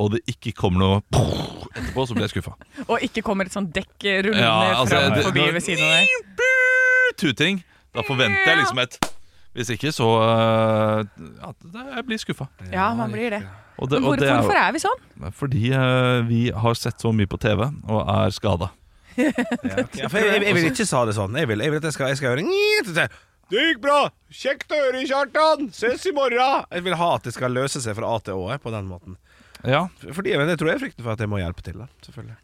Speaker 5: og det ikke kommer noe etterpå, så blir jeg skuffa.
Speaker 4: Og ikke kommer et sånt dekk eh, rullende
Speaker 5: Ja, altså,
Speaker 4: fram
Speaker 5: det-
Speaker 4: forbi
Speaker 5: når-
Speaker 4: ved siden av deg.
Speaker 5: Tuting. Da forventer jeg liksom et Hvis ikke, så eh, ja, det- Jeg blir skuffa.
Speaker 4: Ja, man blir det.
Speaker 5: Og det-
Speaker 4: Men
Speaker 5: og
Speaker 4: hvor,
Speaker 5: det er jo-
Speaker 4: hvorfor er vi sånn?
Speaker 5: Fordi eh, vi har sett så mye på TV og er skada.
Speaker 3: Ja, for jeg, jeg, jeg vil ikke sa det sånn. Jeg vil, jeg vil at jeg skal, jeg skal høre «Njet», og så sier, Det gikk bra! Kjekt å høre, Kjartan! Ses i morgen! Jeg vil ha at det skal løse seg fra A til Å jeg, på den måten.
Speaker 5: Ja.
Speaker 3: Fordi men Jeg tror jeg frykter for at jeg må hjelpe til, da. Selvfølgelig.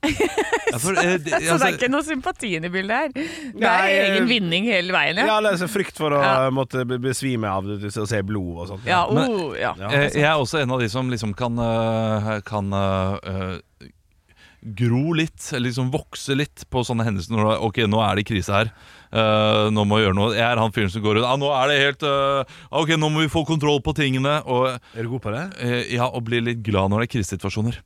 Speaker 5: for, eh, det-
Speaker 4: Så det
Speaker 5: altså,
Speaker 4: er ikke noe sympatien i bildet her. Det er
Speaker 3: Nei, eh,
Speaker 4: egen vinning hele veien,
Speaker 3: Ja,
Speaker 4: ja.
Speaker 3: eller så frykt for å
Speaker 4: Ja.
Speaker 3: måtte be- besvime av det, å se blod og sånt.
Speaker 4: Ja,
Speaker 5: Men-
Speaker 4: oh, ja.
Speaker 3: Ja.
Speaker 5: eh, jeg er også en av de som liksom kan, eh, kan eh, eh, gro litt, eller liksom vokse litt på sånne hendelser. Når det, er, ok, nå er det krise her. Eh, nå må jeg gjøre noe. Jeg er han fyren som går ut. Ah, nå er det helt eh, Ok, nå må vi få kontroll på tingene. Og,
Speaker 3: Er du god på det?
Speaker 5: eh, ja, og bli litt glad når det er krisesituasjoner.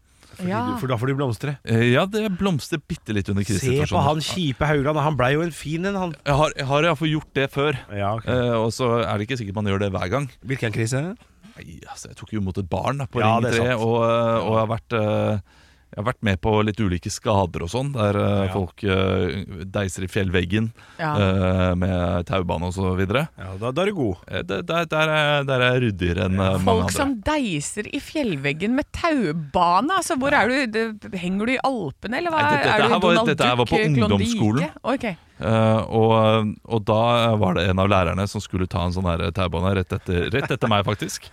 Speaker 4: ja.
Speaker 3: For da får du blomstre.
Speaker 5: Eh, ja, det blomstrer bitte litt under
Speaker 3: Se på
Speaker 5: krisesituasjoner.
Speaker 3: han kjipe Haugland. Han blei jo en fin en, han.
Speaker 5: Jeg har, jeg har iallfall gjort det før.
Speaker 3: Ja, ok.
Speaker 5: Eh, og så er det ikke sikkert man gjør det hver gang.
Speaker 3: Hvilken krise?
Speaker 5: Nei, altså, jeg tok jo imot et barn da, på
Speaker 3: Ja,
Speaker 5: Ring
Speaker 3: det
Speaker 5: 3,
Speaker 3: er sant.
Speaker 5: og, eh, og jeg, har vært, eh, jeg har vært med på litt ulike skader og sånn, der eh,
Speaker 3: Ja.
Speaker 5: folk eh, deiser i fjellveggen
Speaker 4: Ja.
Speaker 5: eh, med taubane og så videre.
Speaker 3: Ja, da, da er du god.
Speaker 5: Eh, det- Der, der, er, der er jeg ryddigere enn eh, mange
Speaker 4: Folk
Speaker 5: andre.
Speaker 4: som deiser i fjellveggen med taubane. Altså, hvor er du? Det- Henger du i Alpene, eller hva?
Speaker 5: Nei, dette-
Speaker 4: er du
Speaker 5: dette
Speaker 4: i
Speaker 5: her var-
Speaker 4: Donald
Speaker 5: dette her var på
Speaker 4: Duck, eh, Klondike?
Speaker 5: ungdomsskolen.
Speaker 4: Ok.
Speaker 5: Eh, og, og da eh, var det en av lærerne som skulle ta en sånn her taubane rett etter, rett etter meg, faktisk.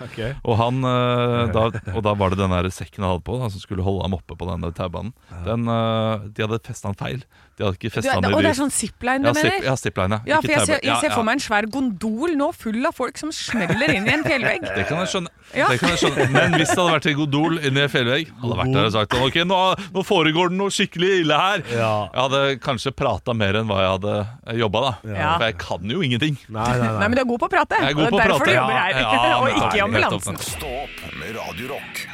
Speaker 5: Og, han, eh, da, og da var det den der sekken han hadde på, da, som skulle holde ham oppe på denne taubanen. Den, eh, de hadde festa han feil. De hadde ikke
Speaker 4: Du,
Speaker 5: festa
Speaker 4: er-
Speaker 5: han i
Speaker 4: og det er
Speaker 5: de-
Speaker 4: sånn zipline
Speaker 5: ja,
Speaker 4: du
Speaker 5: zip,
Speaker 4: mener?
Speaker 5: ja, zipline.
Speaker 4: Ja,
Speaker 5: ikke
Speaker 4: for jeg ser,
Speaker 5: taubane.
Speaker 4: jeg ser
Speaker 5: Ja,
Speaker 4: for
Speaker 5: ja.
Speaker 4: meg en svær gondol nå full av folk som smeller inn i en fjellvegg.
Speaker 5: Det kan, jeg skjønne.
Speaker 4: Ja.
Speaker 5: det kan jeg skjønne. Men hvis det hadde vært en Godol inni en fjellvegg, hadde jeg vært der og sagt Ok, nå, nå foregår det noe skikkelig ille her.
Speaker 3: Ja.
Speaker 5: Jeg hadde kanskje prata mer enn hva jeg hadde jobba, da.
Speaker 4: Ja.
Speaker 5: For jeg kan jo ingenting.
Speaker 3: Nei, nei,
Speaker 4: Nei, men du er god på å prate.
Speaker 5: Jeg er god
Speaker 4: og
Speaker 5: på å
Speaker 4: det er derfor
Speaker 5: prate,
Speaker 4: du
Speaker 5: ja.
Speaker 4: jobber her.
Speaker 5: Ja,
Speaker 4: og
Speaker 5: men
Speaker 4: ikke i
Speaker 5: herlig, helt
Speaker 4: ambulansen.
Speaker 5: opptatt.
Speaker 1: Stå opp med Radio Rock.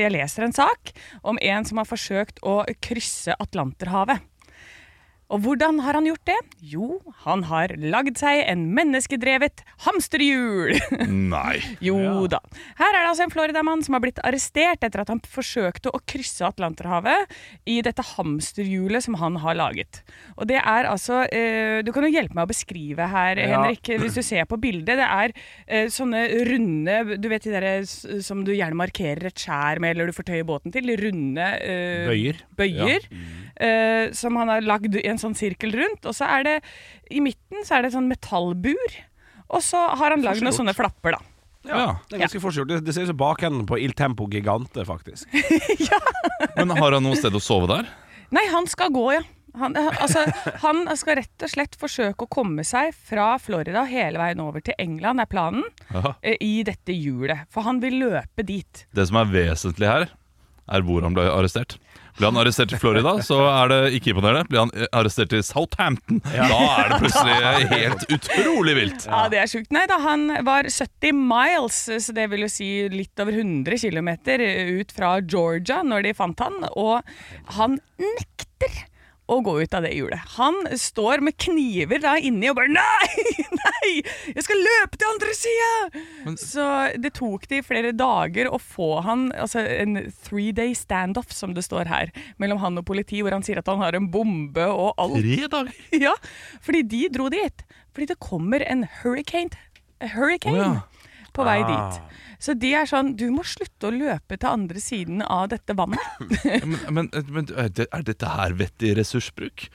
Speaker 4: Jeg leser en sak om en som har forsøkt å krysse Atlanterhavet. Og hvordan har han gjort det? Jo, han har lagd seg en menneskedrevet hamsterhjul.
Speaker 5: Nei.
Speaker 4: Jo da. Her er det altså en Floridamann som har blitt arrestert etter at han forsøkte å krysse Atlanterhavet i dette hamsterhjulet som han har laget. Og det er altså eh, Du kan jo hjelpe meg å beskrive her, Henrik, hvis du ser på bildet. Det er eh, sånne runde Du vet de derre s- som du gjerne markerer et skjær med, eller du fortøyer båten til? Runde eh,
Speaker 3: Bøyer.
Speaker 4: bøyer eh, som han har lagd i en sånn sirkel rundt. Og så er det i midten så er det et sånn metallbur. Og så har han lagd noen sånne flapper, da.
Speaker 5: Ja.
Speaker 3: Det er ganske forskjell. Det- Det ser ut som bakenden på Il Tempo Gigante, faktisk.
Speaker 5: Men har han noe sted å sove der?
Speaker 4: Nei, han skal gå, ja. Han, altså, han skal rett og slett forsøke å komme seg fra Florida hele veien over til England, er planen,
Speaker 5: Jaha.
Speaker 4: eh, i dette hjulet. For han vil løpe dit.
Speaker 5: Det som er vesentlig her, er hvor han ble arrestert. Ble han arrestert i Florida, så er det ikke imponerende. Ble han arrestert i Southampton, da er det plutselig helt utrolig vilt.
Speaker 4: Ja, Ah, det er sjukt. Nei da, han var 70 miles, så det vil jo si litt over 100 km ut fra Georgia når de fant han, og han nekter å gå ut av det hjulet. Han står med kniver da inni og bare Nei! Nei! Jeg skal løpe til andre sida!
Speaker 5: Men-
Speaker 4: Så det tok de flere dager å få han altså en three day standoff, som det står her, mellom han og politi, hvor han sier at han har en bombe og alt.
Speaker 5: Tre dager?
Speaker 4: Ja, fordi de dro dit. Fordi det kommer en hurricane,
Speaker 5: Å,
Speaker 4: hurricane
Speaker 5: ja. Ah.
Speaker 4: på vei dit. Så de er sånn Du må slutte å løpe til andre siden av dette vannet.
Speaker 5: Ja, Men, men, men er det- er dette her vettig ressursbruk?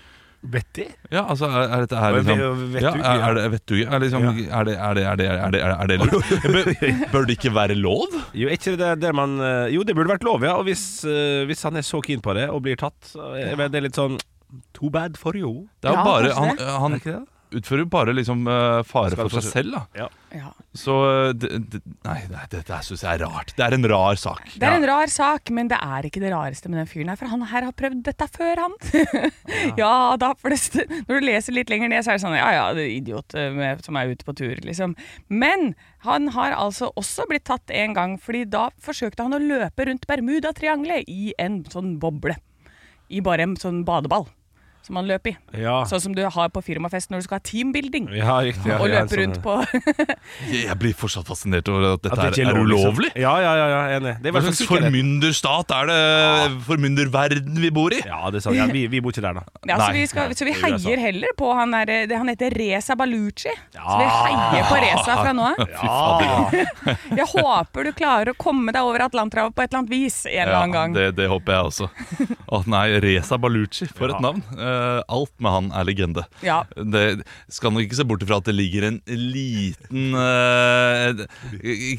Speaker 3: Betty?
Speaker 5: Ja, altså, er, er dette her
Speaker 3: Hva er
Speaker 5: liksom,
Speaker 3: ve-
Speaker 5: ja,
Speaker 3: vettuge,
Speaker 5: er,
Speaker 3: ja.
Speaker 5: er det vettuge? Er, liksom, er det, er det, er det, er det, er det lurt? Bør, bør det ikke være lov?
Speaker 3: Jo, er ikke det der man eh, Jo, det burde vært lov, ja. Og hvis, eh, hvis han er så keen på det og blir tatt, så er er det litt sånn Too bad for you.
Speaker 5: Det er jo
Speaker 4: Ja,
Speaker 5: bare,
Speaker 4: kanskje
Speaker 5: han,
Speaker 4: det.
Speaker 5: han utfører jo bare liksom, eh, fare
Speaker 3: Skal
Speaker 5: for
Speaker 3: for
Speaker 5: seg selv, da.
Speaker 4: Ja.
Speaker 5: Så eh, det, det, Nei, nei dette syns jeg er rart. Det er en rar sak.
Speaker 4: Det er en rar sak, men det er ikke det rareste med den fyren her. For han her har prøvd dette før, han. ja da, for det, st- når du leser litt lenger ned, så er det sånn ja ja, det er idiot eh, med, som er ute på tur, liksom. Men han har altså også blitt tatt en gang, fordi da forsøkte han å løpe rundt Bermudatriangelet i en sånn boble. I bare en sånn badeball som han løp i.
Speaker 3: Ja,
Speaker 4: Sånn som du har på firmafest når du skal ha teambuilding.
Speaker 3: ja riktig. Ah. Ja,
Speaker 4: og
Speaker 3: ja,
Speaker 4: løpe
Speaker 3: sånn-
Speaker 4: rundt på
Speaker 5: Jeg jeg blir fortsatt fascinert over at dette
Speaker 3: At det
Speaker 5: er,
Speaker 3: ikke
Speaker 5: er
Speaker 3: lov,
Speaker 5: ulovlig.
Speaker 3: Liksom. Ja, ja, ja, ja, enig. Det er i
Speaker 5: Hva
Speaker 3: hvert fall
Speaker 5: slags
Speaker 3: sikkerhet.
Speaker 5: formynderstat er det? Formynderverden vi bor i?
Speaker 3: Ja, det er sant. Ja, vi, vi bor ikke der, da.
Speaker 4: Ja, så
Speaker 5: Nei,
Speaker 4: vi, skal,
Speaker 5: nei,
Speaker 4: så vi
Speaker 3: det er USA.
Speaker 4: heier heller på han der eh, det- Han heter Reza Baluchi. Så vi heier på Reza fra nå av.
Speaker 5: Fy fader.
Speaker 4: Jeg håper du klarer å komme deg over Atlanterhavet på et eller annet vis en eller
Speaker 5: Ja,
Speaker 4: annen gang.
Speaker 5: det, det håper jeg også. Å nei, Reza Baluchi, for
Speaker 3: Ja.
Speaker 5: et navn. Eh, alt med han er legende.
Speaker 4: Ja.
Speaker 5: Det skal nok ikke se bort ifra at det ligger en liten eh,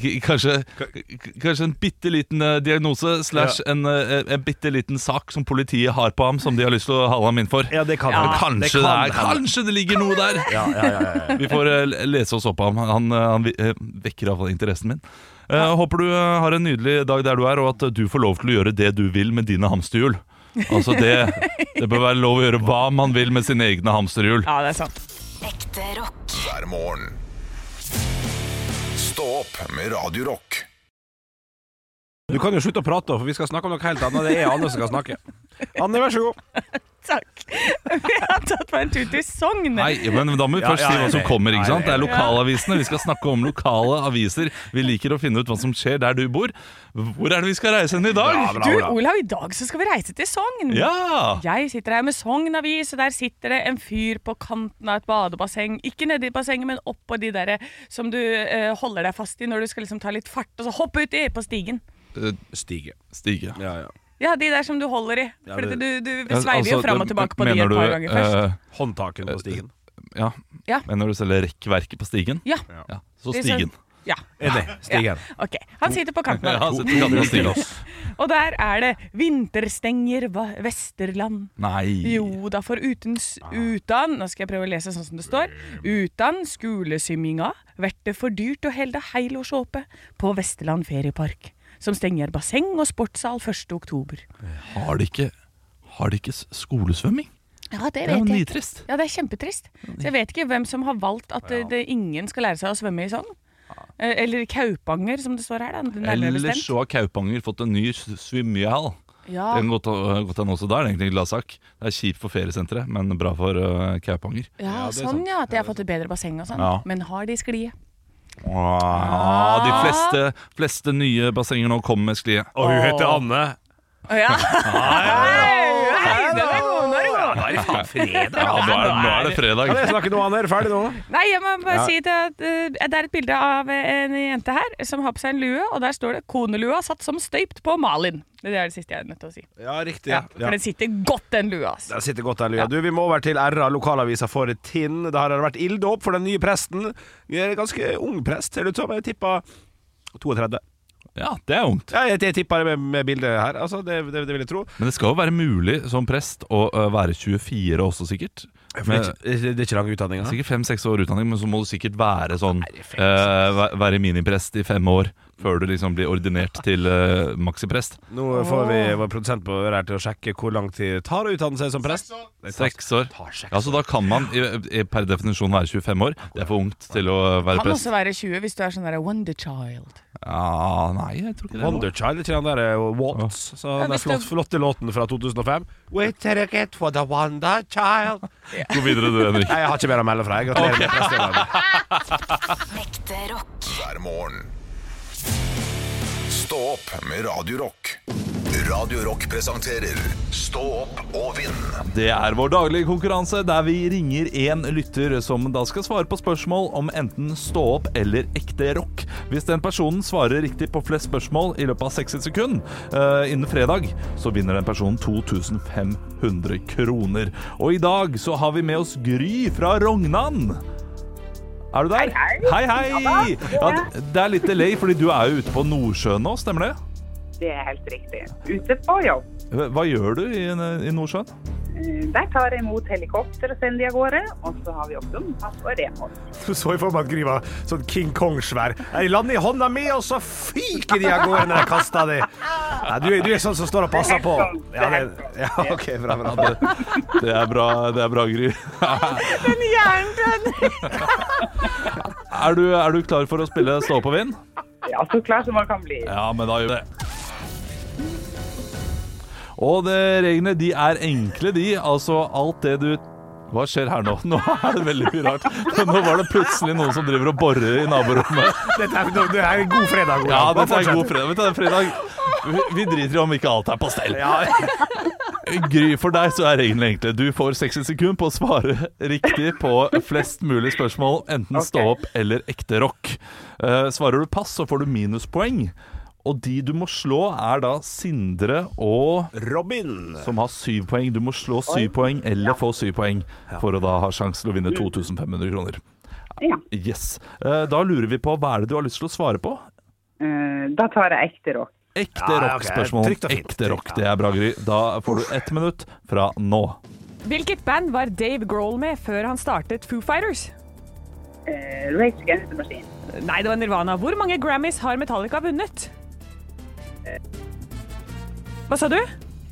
Speaker 5: k- Kanskje, k- kanskje en bitte liten eh, diagnose slash en, eh, en bitte liten sak som politiet har på ham, som de har lyst til å hale ham inn for.
Speaker 3: Ja, det kan
Speaker 4: Ja.
Speaker 3: hende.
Speaker 5: Kanskje, det
Speaker 3: kan
Speaker 5: er,
Speaker 3: hende.
Speaker 5: kanskje det ligger noe der!
Speaker 3: Ja, ja, ja, ja, ja.
Speaker 5: Vi får eh, lese oss opp på ham. Han, eh, han vi- eh, vekker iallfall interessen min. Eh, Håper du eh, har en nydelig dag der du er, og at eh, du får lov til å gjøre det du vil med dine hamsterhjul. Altså det, det bør være lov å gjøre hva man vil med sine egne hamsterhjul.
Speaker 4: ja, det er sant.
Speaker 6: Ekte rock.
Speaker 1: hver morgen. Stå opp med Radio Rock.
Speaker 3: Du kan jo slutte å prate, for vi skal snakke om noe helt annet. Det er Anne som skal snakke. Anne, vær så god.
Speaker 4: Takk. Vi har tatt meg en tur til Sogn.
Speaker 5: Nei, men Da må vi
Speaker 3: Ja,
Speaker 5: først
Speaker 3: ja,
Speaker 5: si hva som
Speaker 3: ja,
Speaker 5: kommer.
Speaker 3: ja,
Speaker 5: ikke sant?
Speaker 3: ja,
Speaker 5: Det
Speaker 3: ja.
Speaker 5: er lokalavisene. Vi skal snakke om lokale aviser. Vi liker å finne ut hva som skjer der du bor. Hvor er det vi skal reise hen i
Speaker 3: Bra,
Speaker 5: dag?
Speaker 3: bra,
Speaker 4: Du,
Speaker 3: Ola.
Speaker 4: Olav, i dag så skal vi reise til Sogn.
Speaker 5: Ja!
Speaker 4: Jeg sitter her med Sogn Avis, og der sitter det en fyr på kanten av et badebasseng. Ikke nedi bassenget, men oppå de der som du eh, holder deg fast i når du skal liksom ta litt fart, og så hoppe uti på stigen.
Speaker 5: Eh,
Speaker 3: Stige.
Speaker 5: Stige.
Speaker 3: Ja, ja.
Speaker 4: Ja, de der som du holder i. For
Speaker 3: det-
Speaker 4: du, du, du
Speaker 5: Ja,
Speaker 4: sveiver jo
Speaker 5: altså,
Speaker 4: fram og
Speaker 5: det-
Speaker 4: tilbake på de
Speaker 5: mener
Speaker 4: et
Speaker 5: du,
Speaker 4: par ganger først.
Speaker 5: eh,
Speaker 3: Håndtaken på stigen.
Speaker 5: Ja,
Speaker 4: Ja.
Speaker 5: men når du selger rekkverket på stigen
Speaker 4: Ja.
Speaker 5: eh, Ja, så
Speaker 4: Det er sånn-
Speaker 5: stigen
Speaker 4: ja.
Speaker 3: Enig. Stigen.
Speaker 4: Ok, Han sitter på kanten.
Speaker 5: Ja,
Speaker 4: av
Speaker 5: så
Speaker 4: den.
Speaker 5: det kan være stigen
Speaker 4: Og der er det 'Vinterstenger Va- Vesterland'.
Speaker 5: Nei
Speaker 4: Jo da, for uten s-
Speaker 5: Ah.
Speaker 4: utan Nå skal jeg prøve å lese sånn som det står. Utan skulesymminga vert det for dyrt å helde helårsåpe på Vesterland feriepark. Som stenger basseng og sportssal 1. oktober.
Speaker 5: Har de ikke, har de ikke s- skolesvømming?
Speaker 4: Ja,
Speaker 5: Det er jo nitrist
Speaker 4: Ja, det er kjempetrist. Så jeg vet ikke hvem som har valgt at eh, det, ingen skal lære seg å svømme i Sogn. Eh, Eller Kaupanger, som det står her. Da. Nærmere
Speaker 5: Ellers
Speaker 4: bestemt.
Speaker 5: så har Kaupanger fått en ny s- svømmehall
Speaker 4: Ja.
Speaker 5: Det kan godt gått an også der, det er egentlig en glad sak Det er kjipt for feriesenteret, men bra for eh, Kaupanger
Speaker 4: ja, sånn ja. At de har fått et bedre basseng og sånn.
Speaker 5: Ja.
Speaker 4: Men har de sklie?
Speaker 5: ah, De fleste, fleste nye bassenger nå kommer med sklie
Speaker 3: Og hun heter Anne.
Speaker 4: Å ja! Hei, den er god, den er god.
Speaker 3: Da er det faen fredag.
Speaker 5: ja, nå, er, nå er det fredag
Speaker 3: Kan jeg snakke nå, Anne? Er du ferdig nå?
Speaker 4: Nei, jeg må bare
Speaker 3: Ja.
Speaker 4: si det at eh, det er et bilde av eh, en jente her som har på seg en lue, og der står det 'Konelua satt som støypt på Malin'. Det er det siste jeg er nødt til å si.
Speaker 3: Ja, riktig.
Speaker 4: Ja, for den sitter godt, den lua. ass.
Speaker 3: Der sitter godt den lua. Du, vi må over til RA, lokalavisa for Tinn. Der har det vært ilddåp for den nye presten. Eh, Ganske ung prest, ser det ut som. Jeg tippa 32.
Speaker 5: Ja, det er ungt
Speaker 3: Ja, jeg, jeg tippa det med, med bildet her. Altså, det, det, det vil jeg tro.
Speaker 5: Men det skal jo være mulig som prest å eh, være 24 også, sikkert. Med,
Speaker 3: det er ikke lang utdanning.
Speaker 5: sikkert fem-seks år utdanning, men så må du sikkert være sånn eh, væ- Være miniprest i fem år før du liksom blir ordinert til eh, maksiprest.
Speaker 3: Nå får vi vår produsent på øret her til å sjekke hvor lang tid det tar å utdanne seg som prest. Det tar-
Speaker 5: Seks år.
Speaker 3: tar seks
Speaker 5: Ja, så da kan man i, i, per definisjon være 25 år. Det er for ungt til å være
Speaker 4: Kan
Speaker 5: prest.
Speaker 4: også være 20 hvis du er sånn der wonder child.
Speaker 5: Ja, nei, jeg tror ikke det.
Speaker 3: Wonderchild, ikke den der eh, Watts? Så den der
Speaker 4: hvis
Speaker 3: flott,
Speaker 4: det-
Speaker 3: flotte låten fra 2005. Wait till I get for the Wonderchild.
Speaker 5: Gå videre du, Henrik.
Speaker 3: Nei, jeg har ikke mer å melde fra. Jeg gratulerer med prestedagen.
Speaker 6: Ekte rock.
Speaker 1: hver morgen. Stå opp med Radio Rock. Radio Rock presenterer Stå opp og vinn.
Speaker 5: Det er vår daglige konkurranse der vi ringer én lytter som da skal svare på spørsmål om enten stå opp eller ekte rock. Hvis den personen svarer riktig på flest spørsmål i løpet av 60 sekunder eh, innen fredag, så vinner den personen 2500 kroner. Og i dag så har vi med oss Gry fra Rognan. Er du der? Hei, hei! Ja, d- det er litt delay, fordi du er jo ute på Nordsjøen nå, stemmer det?
Speaker 7: Det er helt riktig. Ute på jobb.
Speaker 5: Hva hva gjør du i, i Nordsjøen?
Speaker 7: Eh, Der tar jeg imot helikopter og sender de av gårde. Og så har vi også mat og renhold.
Speaker 3: Du så i for meg at Gry var sånn King Kong-svær. Jeg lander i hånda mi, og så fyker de av gårde når jeg kaster de. Nei, du, er- du er sånn som står og passer på. Ja, det, ja OK, bra, bra.
Speaker 5: Det, det er bra, det er bra Gry.
Speaker 4: Den hjernen til
Speaker 5: Er du, er du klar for å spille Stå på vind?
Speaker 7: Ja, så klar som man kan bli.
Speaker 5: Ja, men da gjør vi det. Og det, reglene de er enkle, de. Altså alt det du Hva skjer her nå? Nå er det veldig mye rart. Nå var det plutselig noen som driver og borer i naborommet.
Speaker 3: Dette er, det er en god fredag. Olav.
Speaker 5: Ja, dette er
Speaker 3: Fortsett.
Speaker 5: god fredag. Vet du, det er fredag. Vi- Vi driter i om ikke alt er på stell. Gry, for deg så er reglene enkle. Du får 60 sekunder på å svare riktig på flest mulig spørsmål, enten stå
Speaker 7: Ok.
Speaker 5: opp eller ekte rock. Eh, Svarer du pass, så får du minuspoeng. Og de du må slå, er da Sindre og
Speaker 3: Robin.
Speaker 5: som har syv poeng. Du må slå syv poeng eller få syv poeng for å da ha sjanse til å vinne 2500 kroner.
Speaker 7: Ja.
Speaker 5: Yes. Eh, Da lurer vi på hva er det du har lyst til å svare på?
Speaker 7: Eh, Da tar jeg ekte rock.
Speaker 5: Ekte
Speaker 3: Ja, ja, ok.
Speaker 5: rock-spørsmål.
Speaker 3: Trygt og fint.
Speaker 5: Ekte rock,
Speaker 3: Trygt,
Speaker 5: det
Speaker 3: ja.
Speaker 5: er bra, Gry. Da får du ett minutt fra nå.
Speaker 8: Hvilket band var Dave Grohl med før han startet Foo Fighters?
Speaker 7: Eh, Rage Against the Machine.
Speaker 8: Nei, det var Nirvana. Hvor mange Grammys har Metallica vunnet? Hva sa du?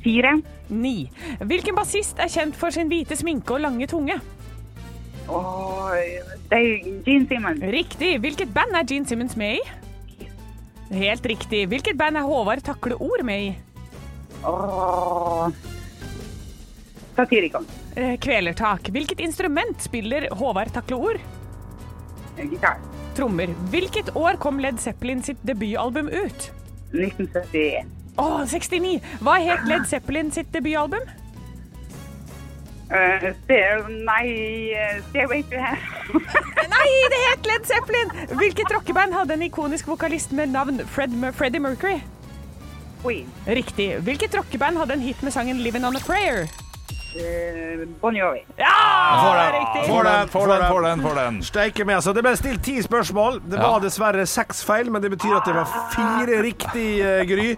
Speaker 7: Fire.
Speaker 8: Ni. Hvilken bassist er kjent for sin hvite sminke og lange tunge?
Speaker 7: Og det er Gene Simmons.
Speaker 8: Riktig. Hvilket band er Gene Simmons med i? Helt riktig. Hvilket band er Håvard Takle Ord med i?
Speaker 7: Og Satirikon.
Speaker 8: Eh, Kvelertak. Hvilket instrument spiller Håvard Takle Ord?
Speaker 7: Eh, Gitar.
Speaker 8: Trommer. Hvilket år kom Led Zeppelin sitt debutalbum ut?
Speaker 7: 1971.
Speaker 8: Å, 69! Hva het Led Zeppelin sitt debutalbum?
Speaker 7: Eh, Stair- Nei, eh, Stairway to Heaven.
Speaker 8: Nei, det het Led Zeppelin! Hvilket rockeband hadde en ikonisk vokalist med navn Fred Mer- Freddie Mercury?
Speaker 7: Queen.
Speaker 8: Riktig. Hvilket rockeband hadde en hit med sangen 'Living On A Prayer'?
Speaker 7: Eh, Bon Jovi.
Speaker 8: Ja! Riktig.
Speaker 3: Får den, får den, får den.
Speaker 5: får den.
Speaker 3: Steike meg, altså. Det ble stilt ti spørsmål. Det var
Speaker 5: Ja.
Speaker 3: dessverre seks feil, men det betyr at det var fire riktig, eh, Gry.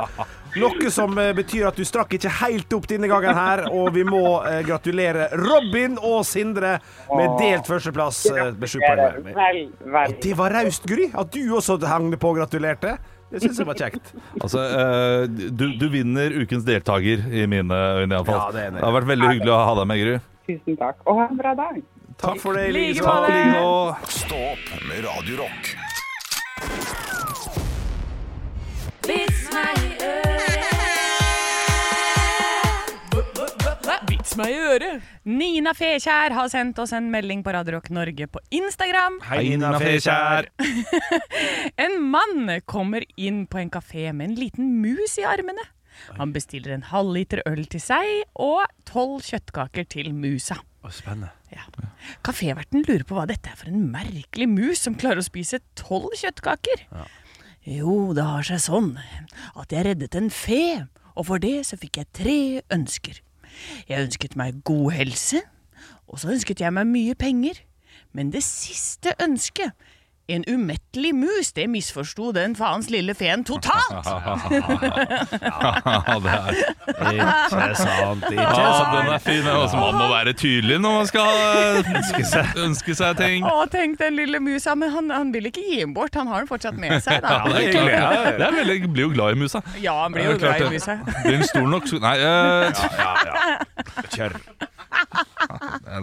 Speaker 3: Noe som eh, betyr at du strakk ikke helt opp denne gangen her, og vi må eh, gratulere Robin og Sindre med delt førsteplass eh, med sju poeng hver.
Speaker 7: Vel, vel.
Speaker 3: Det var raust, Gry, at du også hang på og gratulerte. Det syns jeg var kjekt.
Speaker 5: Altså, eh, du, du vinner ukens deltaker, i mine øyne iallfall.
Speaker 3: Ja, det er enig.
Speaker 5: det har vært veldig hyggelig å ha deg med, Gry.
Speaker 7: Tusen takk, og ha en bra dag.
Speaker 3: Takk for det.
Speaker 8: Like
Speaker 3: Elise.
Speaker 8: måte.
Speaker 5: Takk like nå.
Speaker 1: Stå opp med Radio Rock.
Speaker 6: Vits meg i øret.
Speaker 8: Vits meg i øret.
Speaker 4: Nina Fekjær har sendt oss en melding på Radio Rock Norge på Instagram.
Speaker 3: Hei, Nina Fekjær.
Speaker 4: En mann kommer inn på en kafé med en liten mus i armene. Han bestiller en halvliter øl til seg og tolv kjøttkaker til musa.
Speaker 3: Spennende.
Speaker 4: Ja. Kaféverten lurer på hva dette er for en merkelig mus som klarer å spise tolv kjøttkaker. Jo, det har seg sånn at jeg reddet en fe, og for det så fikk jeg tre ønsker. Jeg ønsket meg god helse, og så ønsket jeg meg mye penger. Men det siste ønsket, En umettelig mus, det misforsto den faens lille feen totalt!
Speaker 5: Ja, det er
Speaker 3: Ikke sant, ikke
Speaker 5: Ja,
Speaker 3: sant.
Speaker 5: den er fin. den Også, man må være tydelig når man skal ønske seg, ønske seg ting.
Speaker 4: Å, tenk den lille musa, men han, han vil ikke gi den bort, han har den fortsatt med seg, da.
Speaker 5: Ja, det er hyggelig. Ja, det er veldig, blir jo glad i musa.
Speaker 4: Ja, han blir
Speaker 5: Ja,
Speaker 4: jo
Speaker 5: det er
Speaker 4: glad
Speaker 5: klart
Speaker 4: i musa.
Speaker 5: det. Blir den stor nok, så Nei, eh,
Speaker 3: Kjør.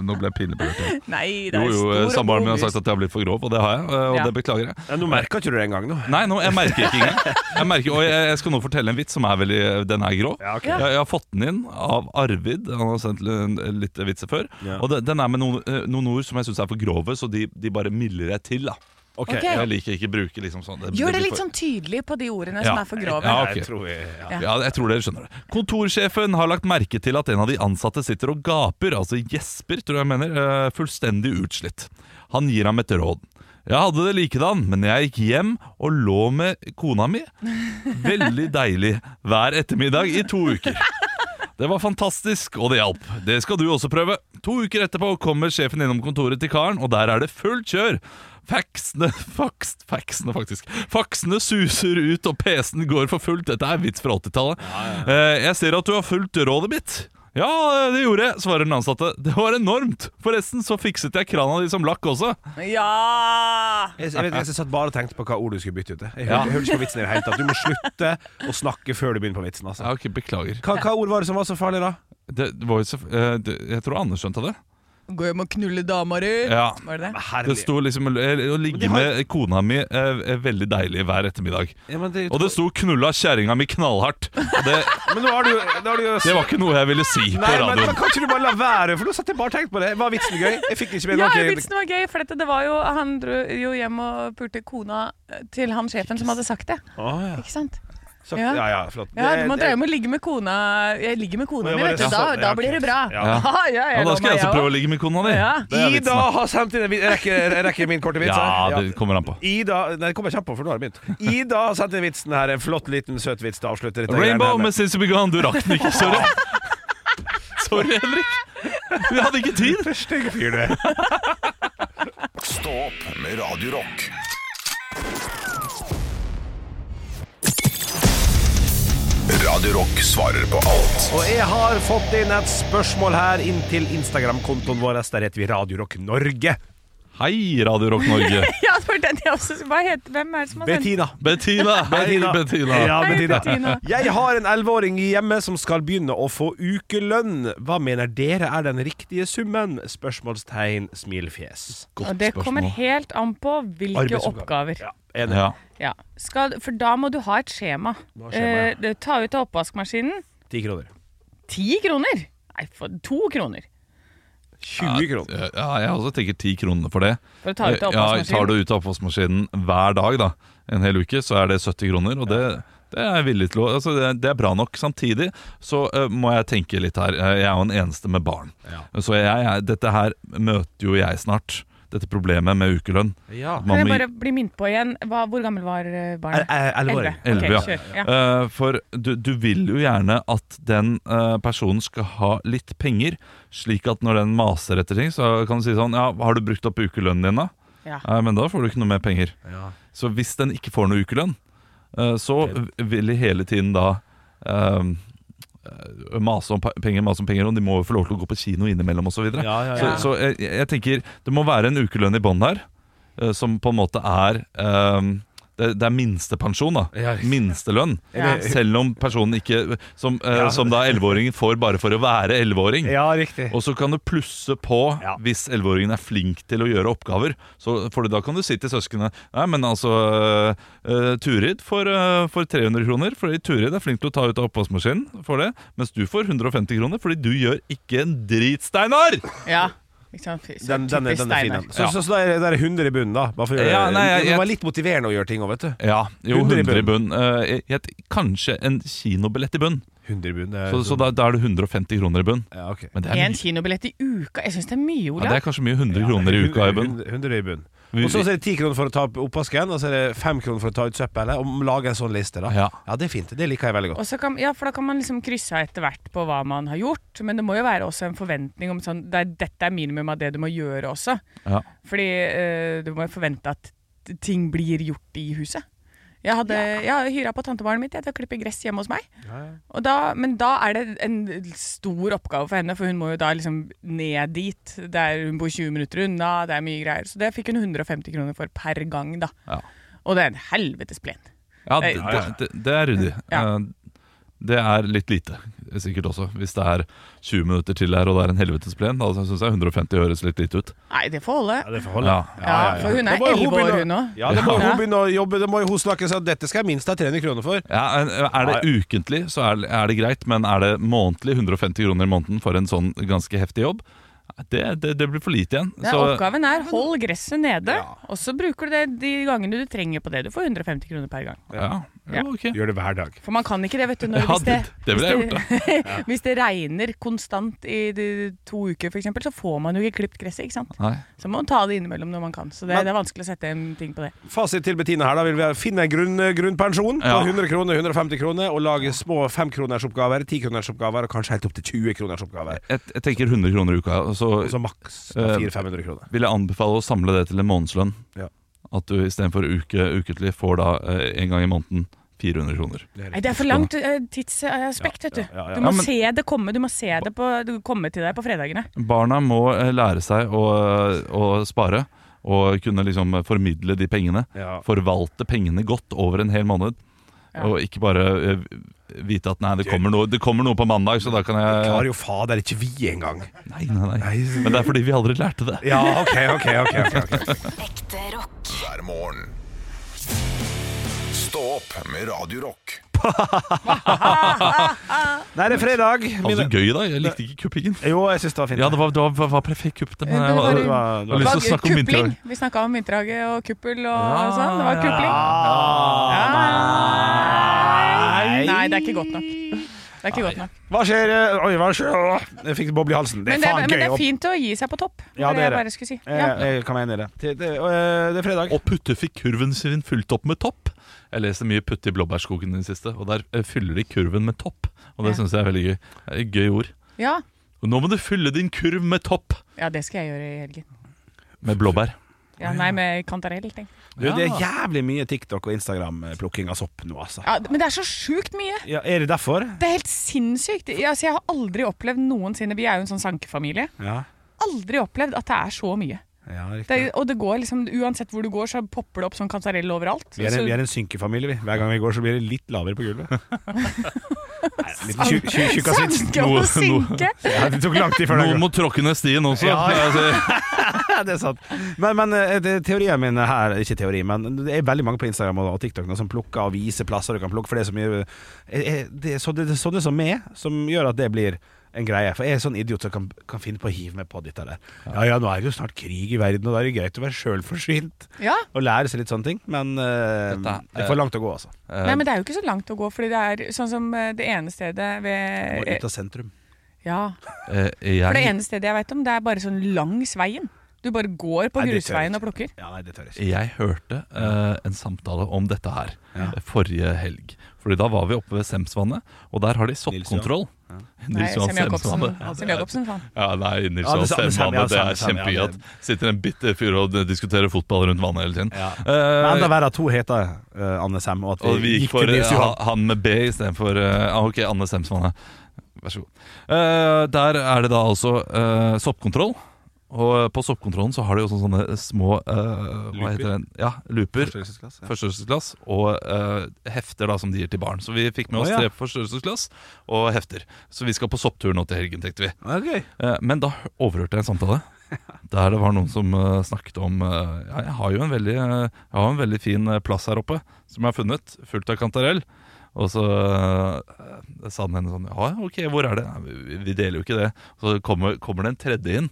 Speaker 5: nå ble jeg pinlig berørt. ja.
Speaker 4: Nei, det
Speaker 5: Jo,
Speaker 4: er
Speaker 5: jo,
Speaker 4: stor og
Speaker 5: samboeren min har
Speaker 4: god
Speaker 5: sagt
Speaker 4: mus.
Speaker 5: at jeg har blitt for grov, og det har jeg. eh, Og
Speaker 4: Ja.
Speaker 5: det beklager jeg.
Speaker 3: Ja, nå merka ikke du det engang, nå.
Speaker 5: Nei, nå, jeg merker ikke engang. Jeg, merker, og jeg, jeg skal nå fortelle en vits som er veldig eh, Den er grov.
Speaker 3: Ja, ok.
Speaker 5: jeg, jeg har fått den inn av Arvid. Han har sendt litt, litt vitser før.
Speaker 3: Ja.
Speaker 5: Og det, den er med noen, eh, noen ord som jeg syns er for grove, så de, de bare mildrer jeg til. da
Speaker 3: Ok.
Speaker 4: Ok.
Speaker 5: Jeg liker ikke å bruke liksom sånn
Speaker 4: Gjør det
Speaker 5: blir
Speaker 4: litt
Speaker 5: for-
Speaker 4: sånn tydelig på de ordene
Speaker 5: Ja.
Speaker 4: som er for grove.
Speaker 5: Ja,
Speaker 3: Jeg
Speaker 5: ok.
Speaker 3: tror vi ja.
Speaker 5: Ja, jeg tror dere skjønner det. Kontorsjefen har lagt merke til at en av de ansatte sitter og gaper, altså gjesper, tror jeg mener, eh, fullstendig utslitt. Han gir ham et råd. Jeg hadde det likedan, men jeg gikk hjem og lå med kona mi. Veldig deilig hver ettermiddag i to uker. Det var fantastisk, og det hjalp. Det skal du også prøve. To uker etterpå kommer sjefen innom kontoret til karen, og der er det fullt kjør. Faxene fax, faxene faktisk. Faxene suser ut, og PC-en går for fullt. Dette er vits fra 80-tallet. Eh, Jeg ser at du har fulgt rådet mitt. Ja, eh, det gjorde jeg, svarer den ansatte. Det var enormt. Forresten så fikset jeg krana di som lakk også.
Speaker 4: Ja!
Speaker 3: Jeg, jeg, vet, jeg satt bare og tenkte på hva ord du skulle bytte ut. til. Jeg
Speaker 5: Ja.
Speaker 3: hørte, jeg hørte ikke på vitsen i det hele tatt. Du må slutte å snakke før du begynner på vitsen. Altså.
Speaker 5: Ja, ok, Beklager.
Speaker 3: Hva, hva ord var det som var så farlig, da?
Speaker 5: Det var jo så, eh, det, jeg tror Anders skjønte det.
Speaker 4: Gå hjem og knulle dama di!
Speaker 5: Ja.
Speaker 4: Var det det?
Speaker 5: Det
Speaker 3: Herlig.
Speaker 5: sto liksom eh, Å ligge med kona mi eh, er veldig deilig hver ettermiddag.
Speaker 3: Ja, men, det,
Speaker 5: Og det sto 'knulla kjerringa mi knallhardt'. Og Det,
Speaker 3: men nå har du, nå har du jo
Speaker 5: det var ikke noe jeg ville si på
Speaker 3: Nei, men, men
Speaker 5: radioen.
Speaker 3: kan ikke du bare la være? For nå satt jeg bare og tenkte på det. Var vitsen gøy? Jeg fikk ikke med
Speaker 4: Ja,
Speaker 3: noe.
Speaker 4: vitsen var gøy, for dette, det var jo, han dro jo hjem og pulte kona eh, til han sjefen som hadde sagt det.
Speaker 3: Å, ja.
Speaker 4: Ikke sant?
Speaker 3: Så,
Speaker 4: Ja.
Speaker 3: ja, ja, flott.
Speaker 4: Ja,
Speaker 3: Det-
Speaker 4: du må
Speaker 3: det-
Speaker 4: dreie med å ligge med kona Jeg ligger med kona
Speaker 3: Ja,
Speaker 4: mi,
Speaker 3: var
Speaker 4: vet
Speaker 3: det
Speaker 4: du. Da,
Speaker 3: sånn?
Speaker 4: da
Speaker 3: Ja, ok.
Speaker 4: blir det bra.
Speaker 3: Ja.
Speaker 4: ja,
Speaker 5: Ja,
Speaker 4: jeg
Speaker 5: da
Speaker 4: lover
Speaker 5: skal jeg
Speaker 4: meg,
Speaker 5: også prøve
Speaker 4: jeg
Speaker 5: å ligge med kona di.
Speaker 4: Ja.
Speaker 5: Det er
Speaker 3: Ida
Speaker 5: vitsen, da.
Speaker 3: har sendt inn en vits. Jeg rekker, jeg rekker min korte vits. her.
Speaker 5: Ja, det kommer an på.
Speaker 3: Ida Nei, det kommer jeg kjapt på, for nå har jeg begynt. Ida har sendt inn vitsen her. En flott, liten, søt vits til å avslutte dette.
Speaker 5: Rainbow
Speaker 3: greiene her
Speaker 5: med
Speaker 3: med.
Speaker 5: Since You Be Gone. Du rakk den ikke, sorry. Sorry, Henrik. Vi hadde ikke tid.
Speaker 3: Stygg fyr, du er.
Speaker 1: Stå opp med Radio Rock. Radio Rock svarer på alt
Speaker 3: Og jeg har fått inn et spørsmål her inn til Instagram-kontoen vår. Der heter vi Radio Rock Norge.
Speaker 5: Hei, Radio Rock Norge.
Speaker 4: også. Ja, det var den jeg også Hva heter Hvem er det som har sendt
Speaker 3: Bettina.
Speaker 5: Bettina. Hei, Bettina.
Speaker 3: Ja,
Speaker 4: Hei,
Speaker 3: Bettina.
Speaker 4: Bettina.
Speaker 3: Jeg har en elleveåring hjemme som skal begynne å få ukelønn. Hva mener dere er den riktige summen? Spørsmålstegn, smilefjes.
Speaker 4: Og Det kommer helt an på hvilke
Speaker 3: Arbeidsoppgaver.
Speaker 4: oppgaver.
Speaker 3: Ja, enig.
Speaker 5: Ja.
Speaker 4: Ja. Skal, for da må du ha et skjema.
Speaker 3: Hva er skjemaet?
Speaker 4: Eh, det- ta ut av oppvaskmaskinen.
Speaker 3: Ti kroner.
Speaker 4: Ti kroner! Nei, for to kroner.
Speaker 3: 20 kroner.
Speaker 5: ja, jeg også tenker ti kroner for det. Eh,
Speaker 4: For å ta ut av
Speaker 5: Ja, tar
Speaker 4: oppvaskmaskinen.
Speaker 5: du ut av oppvaskmaskinen hver dag da, en hel uke, så er det 70 kroner, og det, det er jeg villig til å altså, det, det er bra nok. Samtidig så eh, må jeg tenke litt her. Eh, Jeg er jo en eneste med barn, så jeg, jeg, dette her møter jo jeg snart. Dette problemet med ukelønn.
Speaker 3: Ja.
Speaker 5: Man
Speaker 4: Kan jeg
Speaker 5: må-
Speaker 4: bare bli minnet på igjen, hva, hvor gammel var eh,
Speaker 3: Er-
Speaker 4: barnet?
Speaker 3: er- Elleveåring.
Speaker 4: Elleve. Ok,
Speaker 5: Elleve, ja.
Speaker 4: kjør. Ja.
Speaker 5: Eh, for du, du vil jo gjerne at den eh, personen skal ha litt penger, slik at når den maser etter ting, så kan du si sånn Ja, har du brukt opp ukelønnen din, da?
Speaker 4: Ja.
Speaker 5: Nei, men da får du ikke noe mer penger.
Speaker 3: Ja.
Speaker 5: Så hvis den ikke får noe ukelønn, eh, så vil de hele tiden da ehm, eh, mase om pa- penger, mase om penger, og de må jo få lov til å gå på kino innimellom osv. videre
Speaker 3: Ja, ja,
Speaker 5: Så,
Speaker 3: ja.
Speaker 5: så jeg, jeg tenker det må være en ukelønn i bånn her, eh, som på en måte er ehm, det, det er minstepensjon, da.
Speaker 3: Ja, riktig.
Speaker 5: Minstelønn.
Speaker 4: Ja.
Speaker 5: Selv om personen ikke Som, eh,
Speaker 3: Ja.
Speaker 5: som da elleveåringen får bare for å være elleveåring.
Speaker 3: ja, riktig.
Speaker 5: Og så kan du plusse på
Speaker 3: Ja.
Speaker 5: hvis elleveåringen er flink til å gjøre oppgaver. Så, for da kan du si til søsknene Nei, men altså eh, Turid får, eh, får 300 kroner, fordi Turid er flink til å ta ut av oppvaskmaskinen, for det, mens du får 150 kroner fordi du gjør ikke en drit, Steinar!
Speaker 4: ja. Ikke sant? Fy, så
Speaker 3: Den, den, er-
Speaker 4: typisk
Speaker 3: den er fin,
Speaker 4: Steinar.
Speaker 3: den. Så,
Speaker 5: Ja.
Speaker 3: så, så da er det- da er det 100 i bunnen, da. Bare for å gjøre,
Speaker 5: Ja, nei, jeg-
Speaker 3: det
Speaker 5: jeg-
Speaker 3: var litt motiverende å gjøre ting òg, vet du.
Speaker 5: Ja, jo,
Speaker 3: 100 i
Speaker 5: 100 i bunn. Eh, jeg- jeg- kanskje en kinobillett i bunn.
Speaker 3: 100 i bunnen. det er-
Speaker 5: Så, så da, da er det 150 kroner i bunn.
Speaker 3: ja, ok.
Speaker 5: Men det er,
Speaker 4: En
Speaker 5: mye.
Speaker 4: kinobillett i uka? Jeg syns det er mye,
Speaker 5: ja, det
Speaker 4: Olav.
Speaker 5: er kanskje mye 100 kroner i uka i bunn.
Speaker 3: 100 100 i bunn. Og så så er det 10 kroner for å ta opp oppvasken, og så er det 5 kroner for å ta ut søppelet. Og lage en sånn liste, da.
Speaker 5: Ja.
Speaker 3: det er fint. Det liker jeg veldig godt.
Speaker 4: Og så kan, ja, for Da kan man liksom krysse av etter hvert på hva man har gjort, men det må jo være også en forventning om sånn det er, Dette er minimum av det du må gjøre også.
Speaker 5: Ja.
Speaker 4: Fordi eh, du må jo forvente at at ting blir gjort i huset. Jeg hadde, jeg hyra på tantebarnet mitt jeg, til å klippe gress hjemme hos meg. Og da, men da er det en stor oppgave for henne, for hun må jo da liksom ned dit. Der hun bor 20 minutter unna, det er mye greier. Så det fikk hun 150 kroner for per gang, da.
Speaker 5: Ja.
Speaker 4: Og det er en helvetes plen.
Speaker 5: Ja,
Speaker 4: Nei,
Speaker 5: det,
Speaker 4: ja, ja.
Speaker 5: det, det er ryddig.
Speaker 4: Ja.
Speaker 5: Eh, Det er litt lite, sikkert også. Hvis det er 20 minutter til her og det er en helvetes plen, da syns jeg synes 150 høres litt lite ut.
Speaker 4: Nei, det får holde.
Speaker 3: Ja, det får holde.
Speaker 5: Ja.
Speaker 4: Ja, for hun er
Speaker 3: Da må jo
Speaker 4: 11 år,
Speaker 3: begynne-
Speaker 4: hun òg.
Speaker 3: Ja, da må jo
Speaker 4: Ja.
Speaker 3: hun begynne å jobbe. Da må jo hun snakke seg Dette skal jeg minst ha 300 kroner for.
Speaker 5: Ja, en- er det ukentlig, så er, er det greit, men er det månedlig 150 kroner i måneden for en sånn ganske heftig jobb? Det, det, det blir for lite igjen.
Speaker 4: Nei,
Speaker 5: Så-
Speaker 4: oppgaven er hold gresset nede, og så bruker du det de gangene du trenger på det. Du får 150 kroner per gang.
Speaker 5: ja,
Speaker 4: Ja.
Speaker 5: jo, ok.
Speaker 3: Gjør det hver dag.
Speaker 4: For man kan ikke det, vet du. Når,
Speaker 5: Ja,
Speaker 4: hvis,
Speaker 5: det-
Speaker 4: det,
Speaker 5: det ville jeg
Speaker 4: hvis, det, hvis det regner konstant i de to uker, f.eks., så får man jo ikke klipt gresset. ikke sant?
Speaker 5: Nei.
Speaker 4: Så man må ta det innimellom når man kan. Så det,
Speaker 3: Men-
Speaker 4: det er vanskelig å sette en ting på det.
Speaker 3: Fasit til Bettina her, da vil vi finne en grunn, grunnpensjon på
Speaker 5: Ja.
Speaker 3: 100 kroner, 150 kroner, og lage små 5-kronersoppgaver, 10-kronersoppgaver og kanskje helt opp til 20-kronersoppgaver.
Speaker 5: Jeg, jeg tenker 100 kroner i uka, og så
Speaker 3: Altså maks
Speaker 5: Eh,
Speaker 3: 400-500 kroner.
Speaker 5: vil jeg anbefale å samle det til en månedslønn.
Speaker 3: Ja.
Speaker 5: At du istedenfor uke, uketlig får da eh, en gang i måneden 400 kroner.
Speaker 4: Nei, Det er for langt eh, tidsaspekt, vet du.
Speaker 3: ja, ja, ja.
Speaker 4: Du må
Speaker 5: Ja, men-
Speaker 4: se det komme. Du må se det på, du komme til deg på fredagene.
Speaker 5: Barna må eh, lære seg å, eh, å spare og kunne liksom formidle de pengene.
Speaker 3: Ja.
Speaker 5: Forvalte pengene godt over en hel måned. Og ikke bare eh, vite at nei, det kommer, noe, det kommer noe på mandag, så da kan
Speaker 3: Klarer
Speaker 5: jeg
Speaker 3: jo fader ikke vi engang.
Speaker 5: Nei, nei, nei.
Speaker 3: Nei.
Speaker 5: Men det er fordi vi aldri lærte det.
Speaker 3: Ja, OK, OK. ok, ok, ok.
Speaker 6: Ekte rock.
Speaker 1: hver morgen. Stå opp med Radio Rock.
Speaker 3: Nei, det er fredag.
Speaker 5: Altså,
Speaker 3: Mine...
Speaker 5: gøy, da. Jeg likte ikke kuppingen.
Speaker 3: Jo, jeg syns det var fint.
Speaker 5: Ja, det var, det var, det var perfekt kupp. Men jeg,
Speaker 4: Det
Speaker 5: jeg,
Speaker 4: var-
Speaker 5: jeg,
Speaker 3: det
Speaker 5: har
Speaker 3: var-
Speaker 5: lyst til å snakke om
Speaker 4: kupling.
Speaker 5: vinterdag.
Speaker 4: Vi snakka om vinterhage og kuppel og
Speaker 5: Ja,
Speaker 4: sånn. Det var kupling.
Speaker 3: Ah!
Speaker 4: Nei. Nei, det er ikke godt nok. Det er ikke godt nok.
Speaker 3: Hva skjer? eh, Oi, hva skjer? Åh, Jeg fikk boble i halsen. Det er
Speaker 4: Men det,
Speaker 3: faen
Speaker 4: men det
Speaker 3: gøy.
Speaker 4: er fint å gi seg på topp.
Speaker 3: Ja,
Speaker 4: det
Speaker 3: det er
Speaker 4: jeg
Speaker 3: det.
Speaker 4: bare skulle si.
Speaker 3: Eh,
Speaker 4: Ja.
Speaker 3: Jeg kan være enig i det. Det, det, eh, det er fredag.
Speaker 5: Og Putte fikk kurven sin fylt opp med topp. Jeg leste mye Putte i blåbærskogen i det siste, og der eh, fyller de kurven med topp. Og det
Speaker 4: Ja.
Speaker 5: synes syns jeg er veldig gøy. Det er et Gøy ord.
Speaker 4: Ja.
Speaker 5: Og nå må du fylle din kurv med topp!
Speaker 4: ja, det skal jeg gjøre i helgen.
Speaker 5: Med blåbær.
Speaker 4: Ja, nei, med kantarell. tenk.
Speaker 3: Du, det er jævlig mye TikTok og Instagram-plukking av sopp nå, altså.
Speaker 4: Ja, men det er så sjukt mye!
Speaker 3: Ja, er det derfor?
Speaker 4: Det er helt sinnssykt. Jeg, altså, jeg har aldri opplevd noensinne Vi er jo en sånn sankefamilie.
Speaker 3: Ja,
Speaker 4: Aldri opplevd at det er så mye.
Speaker 3: ja
Speaker 4: Det,
Speaker 3: riktig.
Speaker 4: er- og det går liksom Uansett hvor du går, så popper det opp sånn kantarell overalt.
Speaker 3: Vi er, en, vi er en synkefamilie, vi. Hver gang vi går, så blir det litt lavere på gulvet. Nei, Litt tju- tju- tjukk av sits.
Speaker 4: Sanke og
Speaker 5: Noe-
Speaker 4: sinke!
Speaker 3: Ja, det tok lang tid før det
Speaker 5: Noen må tråkke ned stien også.
Speaker 3: Ja, ja.
Speaker 5: Altså,
Speaker 3: Ja, det er sant. Men, men eh, det, teorien min her Ikke teori, men det er veldig mange på Instagram og TikTok nå som plukker og viser plasser du kan plukke, for det er så mye eh, eh, Det er så- det er sånne som meg som gjør at det blir en greie. For jeg er sånn idiot som kan, kan finne på å hive meg på dette der. Ja ja, nå er det jo snart krig i verden, og da er det greit å være sjølforsynt
Speaker 4: Ja.
Speaker 3: og lære seg litt sånne ting, men eh,
Speaker 5: Dette er-
Speaker 3: det er for langt å gå, altså.
Speaker 5: eh,
Speaker 4: Nei, men det er jo ikke så langt å gå, fordi det er sånn som eh, det ene stedet
Speaker 3: Må
Speaker 4: ved
Speaker 3: ut av sentrum.
Speaker 4: Ja.
Speaker 5: eh,
Speaker 4: For det
Speaker 5: jeg,
Speaker 4: eneste stedet jeg vet om, det er bare sånn langs veien. Du bare går på
Speaker 3: Nei, det tør jeg
Speaker 4: grusveien og
Speaker 3: ikke.
Speaker 4: plukker.
Speaker 3: Ja, nei, det tør jeg ikke.
Speaker 5: jeg hørte eh, en samtale om dette her eh, forrige helg. Fordi da var vi oppe ved Semsvannet, og der har de soppkontroll.
Speaker 4: Nei,
Speaker 5: Nils Johan
Speaker 4: Sem Jacobsen.
Speaker 5: Semsvannet.
Speaker 4: Sem Jacobsen faen.
Speaker 5: Ja, nei, Nils
Speaker 3: Ja, det
Speaker 5: Johan
Speaker 3: samme,
Speaker 5: Sem,
Speaker 3: samme, ja,
Speaker 5: det er
Speaker 3: samme, samme,
Speaker 5: kjempegøy
Speaker 3: ja,
Speaker 5: at sitter en bitter fyr og diskuterer fotball rundt vannet hele tiden.
Speaker 3: Ja. Men
Speaker 5: Eh,
Speaker 3: enda verre at hun heter eh, Anne Sem, og at
Speaker 5: og vi gikk for
Speaker 3: til Nils
Speaker 5: eh,
Speaker 3: Johan.
Speaker 5: ha- han med B istedenfor uh, Ok, Anne Semsvanne. Vær så god. Eh, der er det da altså eh, soppkontroll. Og på soppkontrollen så har de jo sånne, sånne små eh, Hva heter det? Ja, looper.
Speaker 3: Forstørrelsesglass, ja.
Speaker 5: Forstørrelsesglass. Og eh, hefter da som de gir til barn. Så vi fikk med oss
Speaker 3: Å, ja.
Speaker 5: tre forstørrelsesglass og hefter. Så vi skal på sopptur nå til helgen, tenkte vi.
Speaker 3: Ja, det er gøy.
Speaker 5: Eh, Men da overhørte jeg en samtale der det var noen som eh, snakket om eh, ja, Jeg har jo en veldig, eh, jeg har en veldig fin eh, plass her oppe som jeg har funnet, fullt av kantarell. Og så eh, sa den ene sånn Ja, ok, hvor er det? Nei, vi, vi deler jo ikke det. Så kommer, kommer det en tredje inn.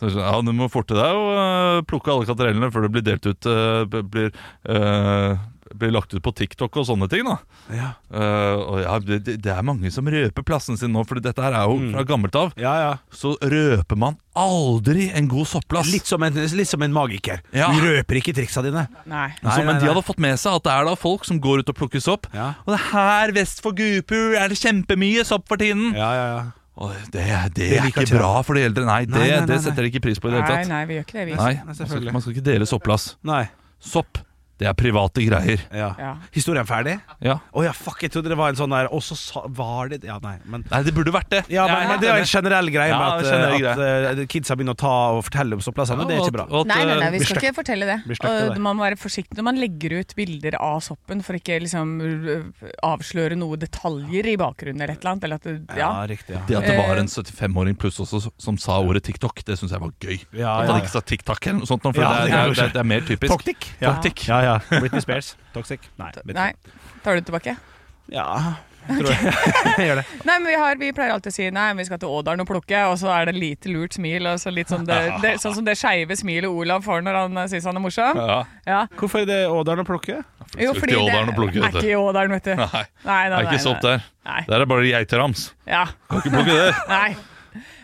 Speaker 5: Så jeg sa, ja, Du må forte deg og eh, plukke alle kantarellene før det blir delt ut eh, b- blir, eh, blir lagt ut på TikTok og sånne ting. da
Speaker 3: Ja.
Speaker 5: Eh, og ja, det, det det er mange som røper plassen sin nå, for dette her er jo fra gammelt av
Speaker 3: Ja, ja.
Speaker 5: så røper man aldri en god soppplass.
Speaker 3: Litt som en, litt som en magiker.
Speaker 5: Ja.
Speaker 3: Du røper ikke triksa dine.
Speaker 4: Nei.
Speaker 5: Så,
Speaker 3: Nei, nei,
Speaker 5: men de
Speaker 3: nei.
Speaker 5: hadde fått med seg at det er da folk som går ut og plukker sopp.
Speaker 3: Ja.
Speaker 5: Og det er her vest for Gupur er det kjempemye sopp for tiden.
Speaker 3: Ja, ja, ja.
Speaker 5: Og det, det,
Speaker 3: liker
Speaker 5: er ikke
Speaker 3: ikke
Speaker 5: bra for de eldre. Nei, det,
Speaker 3: Nei, nei, nei,
Speaker 5: det setter de ikke pris på i det
Speaker 4: nei,
Speaker 5: hele tatt.
Speaker 4: nei, vi gjør ikke det, vi.
Speaker 5: Nei, altså,
Speaker 3: Nei,
Speaker 5: man
Speaker 3: selvfølgelig.
Speaker 5: skal, man skal ikke dele soppplass.
Speaker 3: Nei.
Speaker 5: Sopp Det er private greier.
Speaker 3: Ja.
Speaker 4: Ja.
Speaker 3: Historien ferdig?
Speaker 5: Ja.
Speaker 3: Å ja, fuck, jeg trodde det var en sånn der Og så sa- var det Ja, nei, men
Speaker 5: Nei, det burde vært det. Jeg
Speaker 3: ja, men,
Speaker 5: er
Speaker 3: men
Speaker 5: helt
Speaker 3: Det er jo
Speaker 5: enig.
Speaker 3: en generell greie
Speaker 5: Ja,
Speaker 3: med at,
Speaker 5: det er en generell
Speaker 3: at eh, kidsa begynner å ta og fortelle om soppplassene. det er ikke bra.
Speaker 5: Og at- og at,
Speaker 4: Nei, nei, nei,
Speaker 5: eh,
Speaker 4: vi skal ikke fortelle det.
Speaker 3: blir støkt av
Speaker 4: Og
Speaker 3: det.
Speaker 4: man må være forsiktig når man legger ut bilder av soppen, for ikke liksom øh, avsløre noe detaljer i bakgrunnen eller et eller annet. Eller at det, ja.
Speaker 3: Ja, riktig. Ja.
Speaker 5: Det at det var
Speaker 4: Eh.
Speaker 5: en 75-åring pluss også som sa ordet TikTok, det syns jeg var gøy.
Speaker 3: Ja,
Speaker 5: At han
Speaker 3: ja.
Speaker 5: ikke sa TikTok eller noe sånt, nå, for
Speaker 3: Ja,
Speaker 5: det, er,
Speaker 3: det kan
Speaker 5: det,
Speaker 3: du
Speaker 5: er,
Speaker 3: si.
Speaker 5: det er mer typisk.
Speaker 3: Toktikk. Ja.
Speaker 5: Toktikk.
Speaker 3: Ja, ja. Britney Spears. Toxic. Nei. vet
Speaker 4: Nei,
Speaker 3: ikke.
Speaker 4: tar du det tilbake?
Speaker 3: Ja, jeg tror jeg. jeg gjør det.
Speaker 4: Nei, men vi, har, vi pleier alltid å si nei, men vi skal til Ådalen og plukke, og så er det lite lurt smil. Og så litt sånn, det, det, sånn som det skeive smilet Olav får når han eh, syns han er morsom.
Speaker 5: Ja.
Speaker 4: Ja.
Speaker 3: Hvorfor er det Ådalen å plukke?
Speaker 4: Jo,
Speaker 5: Skal til
Speaker 4: fordi det
Speaker 5: Ådalen og plukke,
Speaker 4: er
Speaker 5: vet du.
Speaker 4: ikke i Ådalen, vet du. Nei,
Speaker 5: Nei, det
Speaker 4: nei, nei.
Speaker 5: er ikke sopp
Speaker 4: nei.
Speaker 5: der.
Speaker 4: Nei.
Speaker 5: Der er bare geiterams.
Speaker 4: Ja.
Speaker 5: Kan ikke plukke det.
Speaker 4: Nei.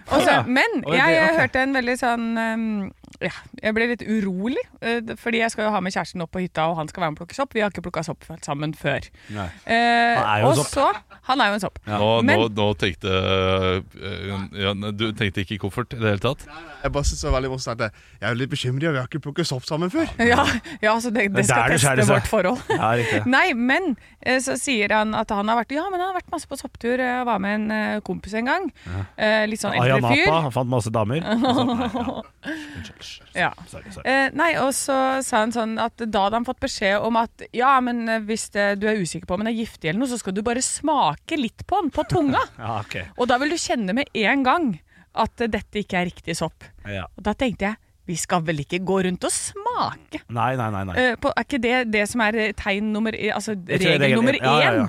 Speaker 4: Og så-
Speaker 3: Ja.
Speaker 4: men
Speaker 3: Oi, det-
Speaker 4: jeg, eh,
Speaker 3: ok.
Speaker 4: hørte en veldig sånn ehm, ja, Jeg ble litt urolig, eh, fordi jeg skal jo ha med kjæresten opp på hytta, og han skal være med og plukke sopp. Vi har ikke plukka sopp sammen før.
Speaker 3: Nei.
Speaker 4: Eh,
Speaker 3: Han er jo en
Speaker 4: og
Speaker 3: sopp.
Speaker 4: så Han er jo en sopp.
Speaker 5: Nå,
Speaker 4: Men-
Speaker 5: nå, nå tenkte eh, ja, Du tenkte ikke koffert i det hele tatt?
Speaker 9: Jeg bare synes det var veldig morsomt at jeg er jo litt bekymret, vi har ikke plukket sopp sammen før.
Speaker 4: Ja, ja så det,
Speaker 3: er
Speaker 4: det skal
Speaker 3: der det skjærer
Speaker 4: teste
Speaker 3: seg.
Speaker 4: vårt forhold.
Speaker 3: Ja, riktig.
Speaker 4: Nei, men eh, så sier han at han har vært Ja, men han har vært masse på sopptur. eh, Var med en eh, kompis en gang. Eh, Litt sånn
Speaker 3: Aya
Speaker 4: eldre fyr.
Speaker 3: Napa. Han fant masse damer. Og så- Nei, ja.
Speaker 4: Ja.
Speaker 3: Sorry, sorry.
Speaker 4: Eh, nei, og så sa han sånn at da hadde han fått beskjed om at ja, men eh, hvis det, du er usikker på om den er giftig eller noe, så skal du bare smake litt på den, på tunga.
Speaker 3: Ja, ok.
Speaker 4: Og da vil du kjenne med en gang at eh, dette ikke er riktig sopp.
Speaker 3: Ja.
Speaker 4: Og da tenkte jeg, vi skal vel ikke gå rundt og smake?
Speaker 3: Nei, nei, nei. nei.
Speaker 4: Eh, på, er ikke det det som er eh, tegn nummer Altså
Speaker 3: Jeg tror det er
Speaker 4: regel
Speaker 3: regel-
Speaker 4: nummer én?
Speaker 3: ja, ja, ja.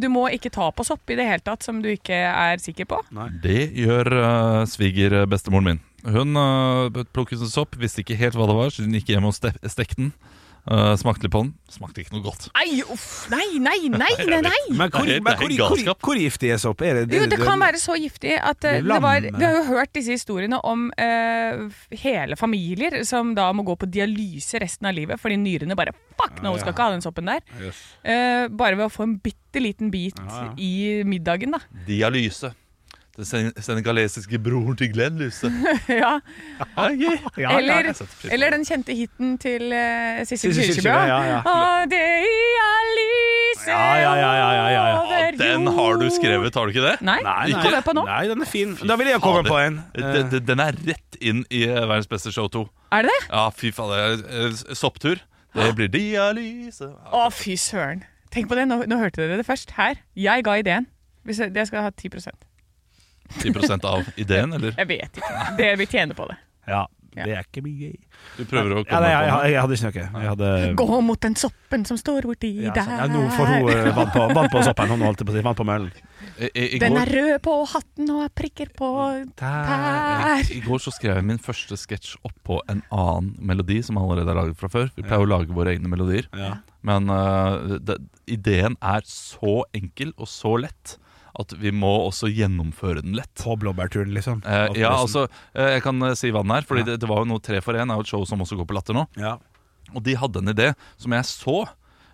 Speaker 4: Du må ikke ta på sopp i det hele tatt som du ikke er sikker på.
Speaker 5: Det gjør uh, svigerbestemoren min. Hun eh, plukket en sopp, visste ikke helt hva det var, så hun gikk hjem og ste stekte den. eh, smakte litt på den. Smakte ikke noe godt.
Speaker 4: Nei, uff, nei, nei, nei, nei, nei!
Speaker 3: Men hvor,
Speaker 5: Nei, det er
Speaker 3: men hvor, hvor,
Speaker 5: galskap.
Speaker 3: hvor giftig er sopp? Er det,
Speaker 4: Jo, det kan være så giftig at eh,
Speaker 3: Blir
Speaker 4: det var,
Speaker 3: lamme.
Speaker 4: Vi har jo hørt disse historiene om eh, hele familier som da må gå på dialyse resten av livet fordi nyrene bare Fuck, nå skal ikke ha den soppen der. Eh, bare ved å få en bitte liten bit
Speaker 3: Ja, ja.
Speaker 4: i middagen, da.
Speaker 5: Dialyse. Den sen- senegalesiske broren til Glenn Lyse.
Speaker 4: ja.
Speaker 3: Ja,
Speaker 4: Eller,
Speaker 5: jeg setter pris på det.
Speaker 4: eller den kjente hiten til uh, Sissel
Speaker 3: Sissel
Speaker 4: Kyrkjebø.
Speaker 3: Kyrkjebø, ja, ja.
Speaker 4: Å, det er lyset
Speaker 3: Ja, ja, ja, ja, ja, ja. Å,
Speaker 4: over
Speaker 5: Den har du
Speaker 4: jord.
Speaker 5: skrevet, har du ikke det?
Speaker 4: Nei,
Speaker 3: Nei, nei.
Speaker 4: kom med på nå.
Speaker 3: Nei, den er fin. Da vil jeg komme
Speaker 5: Fader.
Speaker 3: på en.
Speaker 5: Den, den- den er rett inn i eh, Verdens beste show 2.
Speaker 4: Er det det?
Speaker 5: Ja, fy faen. det er, eh, Sopptur. Det blir dialyse. Ja,
Speaker 4: Å, fy søren. Tenk på det, nå, nå hørte dere det først her. Jeg ga ideen. Hvis jeg, jeg skal ha 10
Speaker 5: 10 av ideen, eller?
Speaker 4: Jeg vet ikke. Dere vil tjene på det.
Speaker 3: Ja, det er ikke mye
Speaker 5: Du prøver å
Speaker 3: ja,
Speaker 5: komme
Speaker 3: nei, jeg,
Speaker 5: på
Speaker 3: jeg,
Speaker 5: noe.
Speaker 3: jeg hadde ikke noe. Jeg hadde
Speaker 4: Gå mot den soppen som står borti
Speaker 3: ja,
Speaker 4: der.
Speaker 3: sånn. ja, Nå får hun eh, vann på, vann på soppen. Hun holdt på å si vann på møllen.
Speaker 5: I, i, i,
Speaker 4: Den
Speaker 5: går,
Speaker 4: er rød på hatten og har prikker på
Speaker 3: Der.
Speaker 4: tær.
Speaker 5: I går så skrev jeg min første sketsj oppå en annen melodi som allerede er laget fra før. Vi pleier å lage våre egne melodier.
Speaker 3: Ja.
Speaker 5: Men eh, det, ideen er så enkel og så lett at vi må også gjennomføre den lett.
Speaker 3: På blåbærturen, liksom.
Speaker 5: Eh, ja,
Speaker 3: Opplevelsen.
Speaker 5: altså, eh, Jeg kan eh, si hva den er, Fordi det, det var jo noe Tre for én er jo et show som også går på Latter nå.
Speaker 3: ja.
Speaker 5: Og de hadde en idé som jeg så,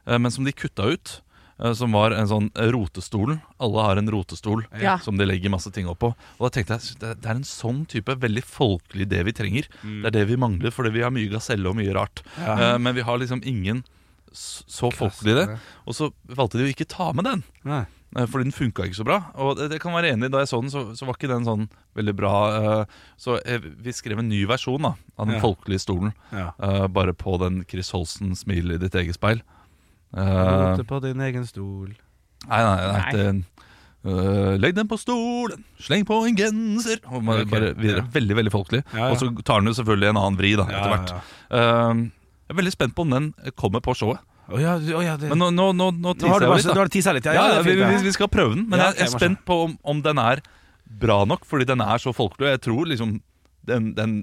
Speaker 5: eh, men som de kutta ut. eh, Som var en sånn eh, rotestolen. Alle har en rotestol
Speaker 4: Ja.
Speaker 5: som de legger masse ting oppå. Og da tenkte jeg det det er en sånn type veldig folkelig idé vi trenger. Det er det vi mangler, fordi vi har mye gaselle og mye rart. Eh, Men vi har liksom ingen s- så folkelig idé. Og så valgte de å ikke ta med den.
Speaker 3: Nei.
Speaker 5: Eh, Fordi den funka ikke så bra. Og det, det kan være enig, Da jeg så den, så, så var ikke den sånn veldig bra. eh, Så eh, vi skrev en ny versjon da av den
Speaker 3: Ja.
Speaker 5: folkelige stolen.
Speaker 3: Ja.
Speaker 5: eh, Bare på den Chris Holsten 'Smil i ditt eget speil'. Eh,
Speaker 3: Rote på din egen stol.
Speaker 5: nei, nei, nei. det- eh, legg den på stolen, sleng på en genser og man,
Speaker 3: Ok,
Speaker 5: bare videre.
Speaker 3: ja.
Speaker 5: Veldig veldig folkelig.
Speaker 3: Ja, ja.
Speaker 5: Og så tar den jo selvfølgelig en annen vri da
Speaker 3: Ja,
Speaker 5: etter hvert.
Speaker 3: ja,
Speaker 5: Eh, jeg er veldig spent på om den kommer på showet.
Speaker 3: Å ja, å ja, det...
Speaker 5: Men nå, nå, nå, nå
Speaker 3: nå har
Speaker 5: teaser
Speaker 3: du
Speaker 5: jeg
Speaker 3: bare
Speaker 5: litt, da.
Speaker 3: nå har du tisa litt. Ja,
Speaker 5: Ja,
Speaker 3: ja, det er
Speaker 5: vi,
Speaker 3: fint,
Speaker 5: vi,
Speaker 3: ja.
Speaker 5: vi skal prøve den, men
Speaker 3: Ja,
Speaker 5: jeg, jeg
Speaker 3: ok,
Speaker 5: er spent på om, om den er bra nok, fordi den er så folkelig. og Jeg tror liksom den, den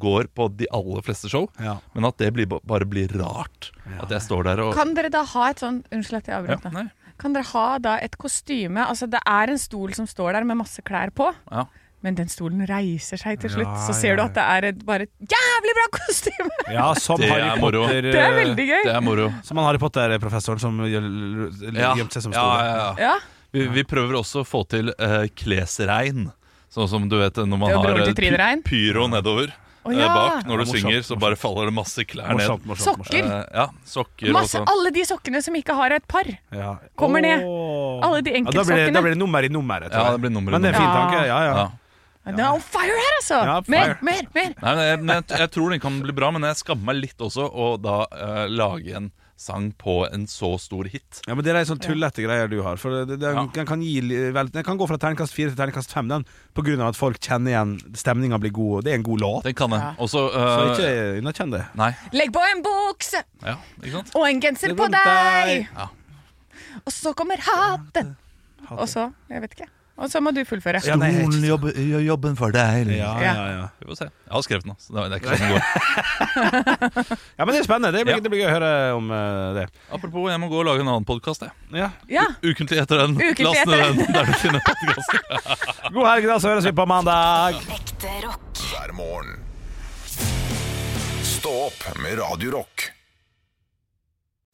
Speaker 5: går på de aller fleste show,
Speaker 3: Ja.
Speaker 5: men at det blir, ba- bare blir rart. At jeg står der og
Speaker 4: Kan dere da ha et sånn Unnskyld at jeg
Speaker 5: ja,
Speaker 4: avbrøt. nå.
Speaker 5: nei,
Speaker 4: Kan dere ha da et kostyme Altså, det er en stol som står der med masse klær på.
Speaker 5: ja.
Speaker 4: Men den stolen reiser seg til slutt.
Speaker 3: Ja,
Speaker 4: så ser
Speaker 3: ja,
Speaker 4: du at det er et, bare et jævlig bra kostyme!
Speaker 3: Ja, som
Speaker 5: Det
Speaker 3: Harry
Speaker 5: er moro.
Speaker 3: Potter eh,
Speaker 4: Det er veldig gøy.
Speaker 5: Det er moro.
Speaker 3: Som han Harry Potter-professoren som gjøl-
Speaker 5: Ja, ja,
Speaker 3: gjemte seg som
Speaker 5: ja,
Speaker 3: stol.
Speaker 5: ja.
Speaker 4: Ja,
Speaker 5: Vi, vi prøver også å få til eh, klesregn, sånn som du vet når man
Speaker 4: Det er jo
Speaker 5: har
Speaker 4: broren til
Speaker 5: eh, py
Speaker 4: Trine Rein.
Speaker 5: pyro nedover.
Speaker 8: Å,
Speaker 5: eh,
Speaker 8: ja.
Speaker 5: bak når du
Speaker 3: Ja, morsomt,
Speaker 5: synger, så bare faller det masse klær
Speaker 3: Morsomt,
Speaker 5: ned.
Speaker 3: morsomt. morsomt.
Speaker 8: Sokker.
Speaker 5: Eh, ja, sokker sånn.
Speaker 8: Masse,
Speaker 5: også.
Speaker 8: alle de sokkene som ikke har et par.
Speaker 3: Ja.
Speaker 8: Kommer ned.
Speaker 3: Åh.
Speaker 8: Alle de
Speaker 3: da, blir det,
Speaker 8: enkeltsokkene.
Speaker 3: da blir det nummer i nummeret. tror
Speaker 5: Ja,
Speaker 3: jeg.
Speaker 5: det blir nummer i
Speaker 3: Men det er en fin
Speaker 8: nummeret.
Speaker 3: tanke. Ja, ja.
Speaker 5: Ja.
Speaker 8: Det er on fire her, altså!
Speaker 3: Ja,
Speaker 8: mer,
Speaker 3: fire.
Speaker 8: mer, mer!
Speaker 5: Nei, men jeg, men jeg, jeg tror den kan bli bra, men jeg skammer meg litt også å da eh, lage en sang på en så stor hit.
Speaker 3: Ja, men Det er en sånn tullete greier du har. For det, det,
Speaker 5: Ja.
Speaker 3: den, kan gi, li- vel, den kan gå fra terningkast fire til terningkast fem, den, på grunn av at folk kjenner igjen stemninga blir god, og det er en god låt.
Speaker 5: Den kan jeg. Og så eh,
Speaker 3: Så ikke underkjenn det.
Speaker 5: Nei.
Speaker 8: Legg på en bukse
Speaker 5: Ja, ikke sant?
Speaker 8: og en genser
Speaker 3: Det
Speaker 8: på
Speaker 3: var
Speaker 8: deg,
Speaker 3: deg.
Speaker 8: og så kommer hatten. Og så Jeg vet ikke. Og så må du fullføre.
Speaker 3: Ja, nei, jeg-
Speaker 5: gjør jobben for deg.
Speaker 3: Ja, ja, ja.
Speaker 5: Vi får se. Jeg har skrevet den, altså. Det er- det er ikke sånn det går.
Speaker 3: ja, men det er spennende. Det blir,
Speaker 5: Ja.
Speaker 3: det blir gøy å høre om eh, det.
Speaker 5: Apropos, jeg må gå og lage en annen podkast, jeg.
Speaker 3: Ja.
Speaker 8: Ja,
Speaker 5: Ukentlig etter den.
Speaker 8: Ukentlig
Speaker 5: Last ned
Speaker 8: etter
Speaker 5: den der du finner podkaster.
Speaker 3: God helg, da, så høres vi på mandag.
Speaker 6: Ekte rock.
Speaker 1: hver morgen. Stå opp med Radio Rock.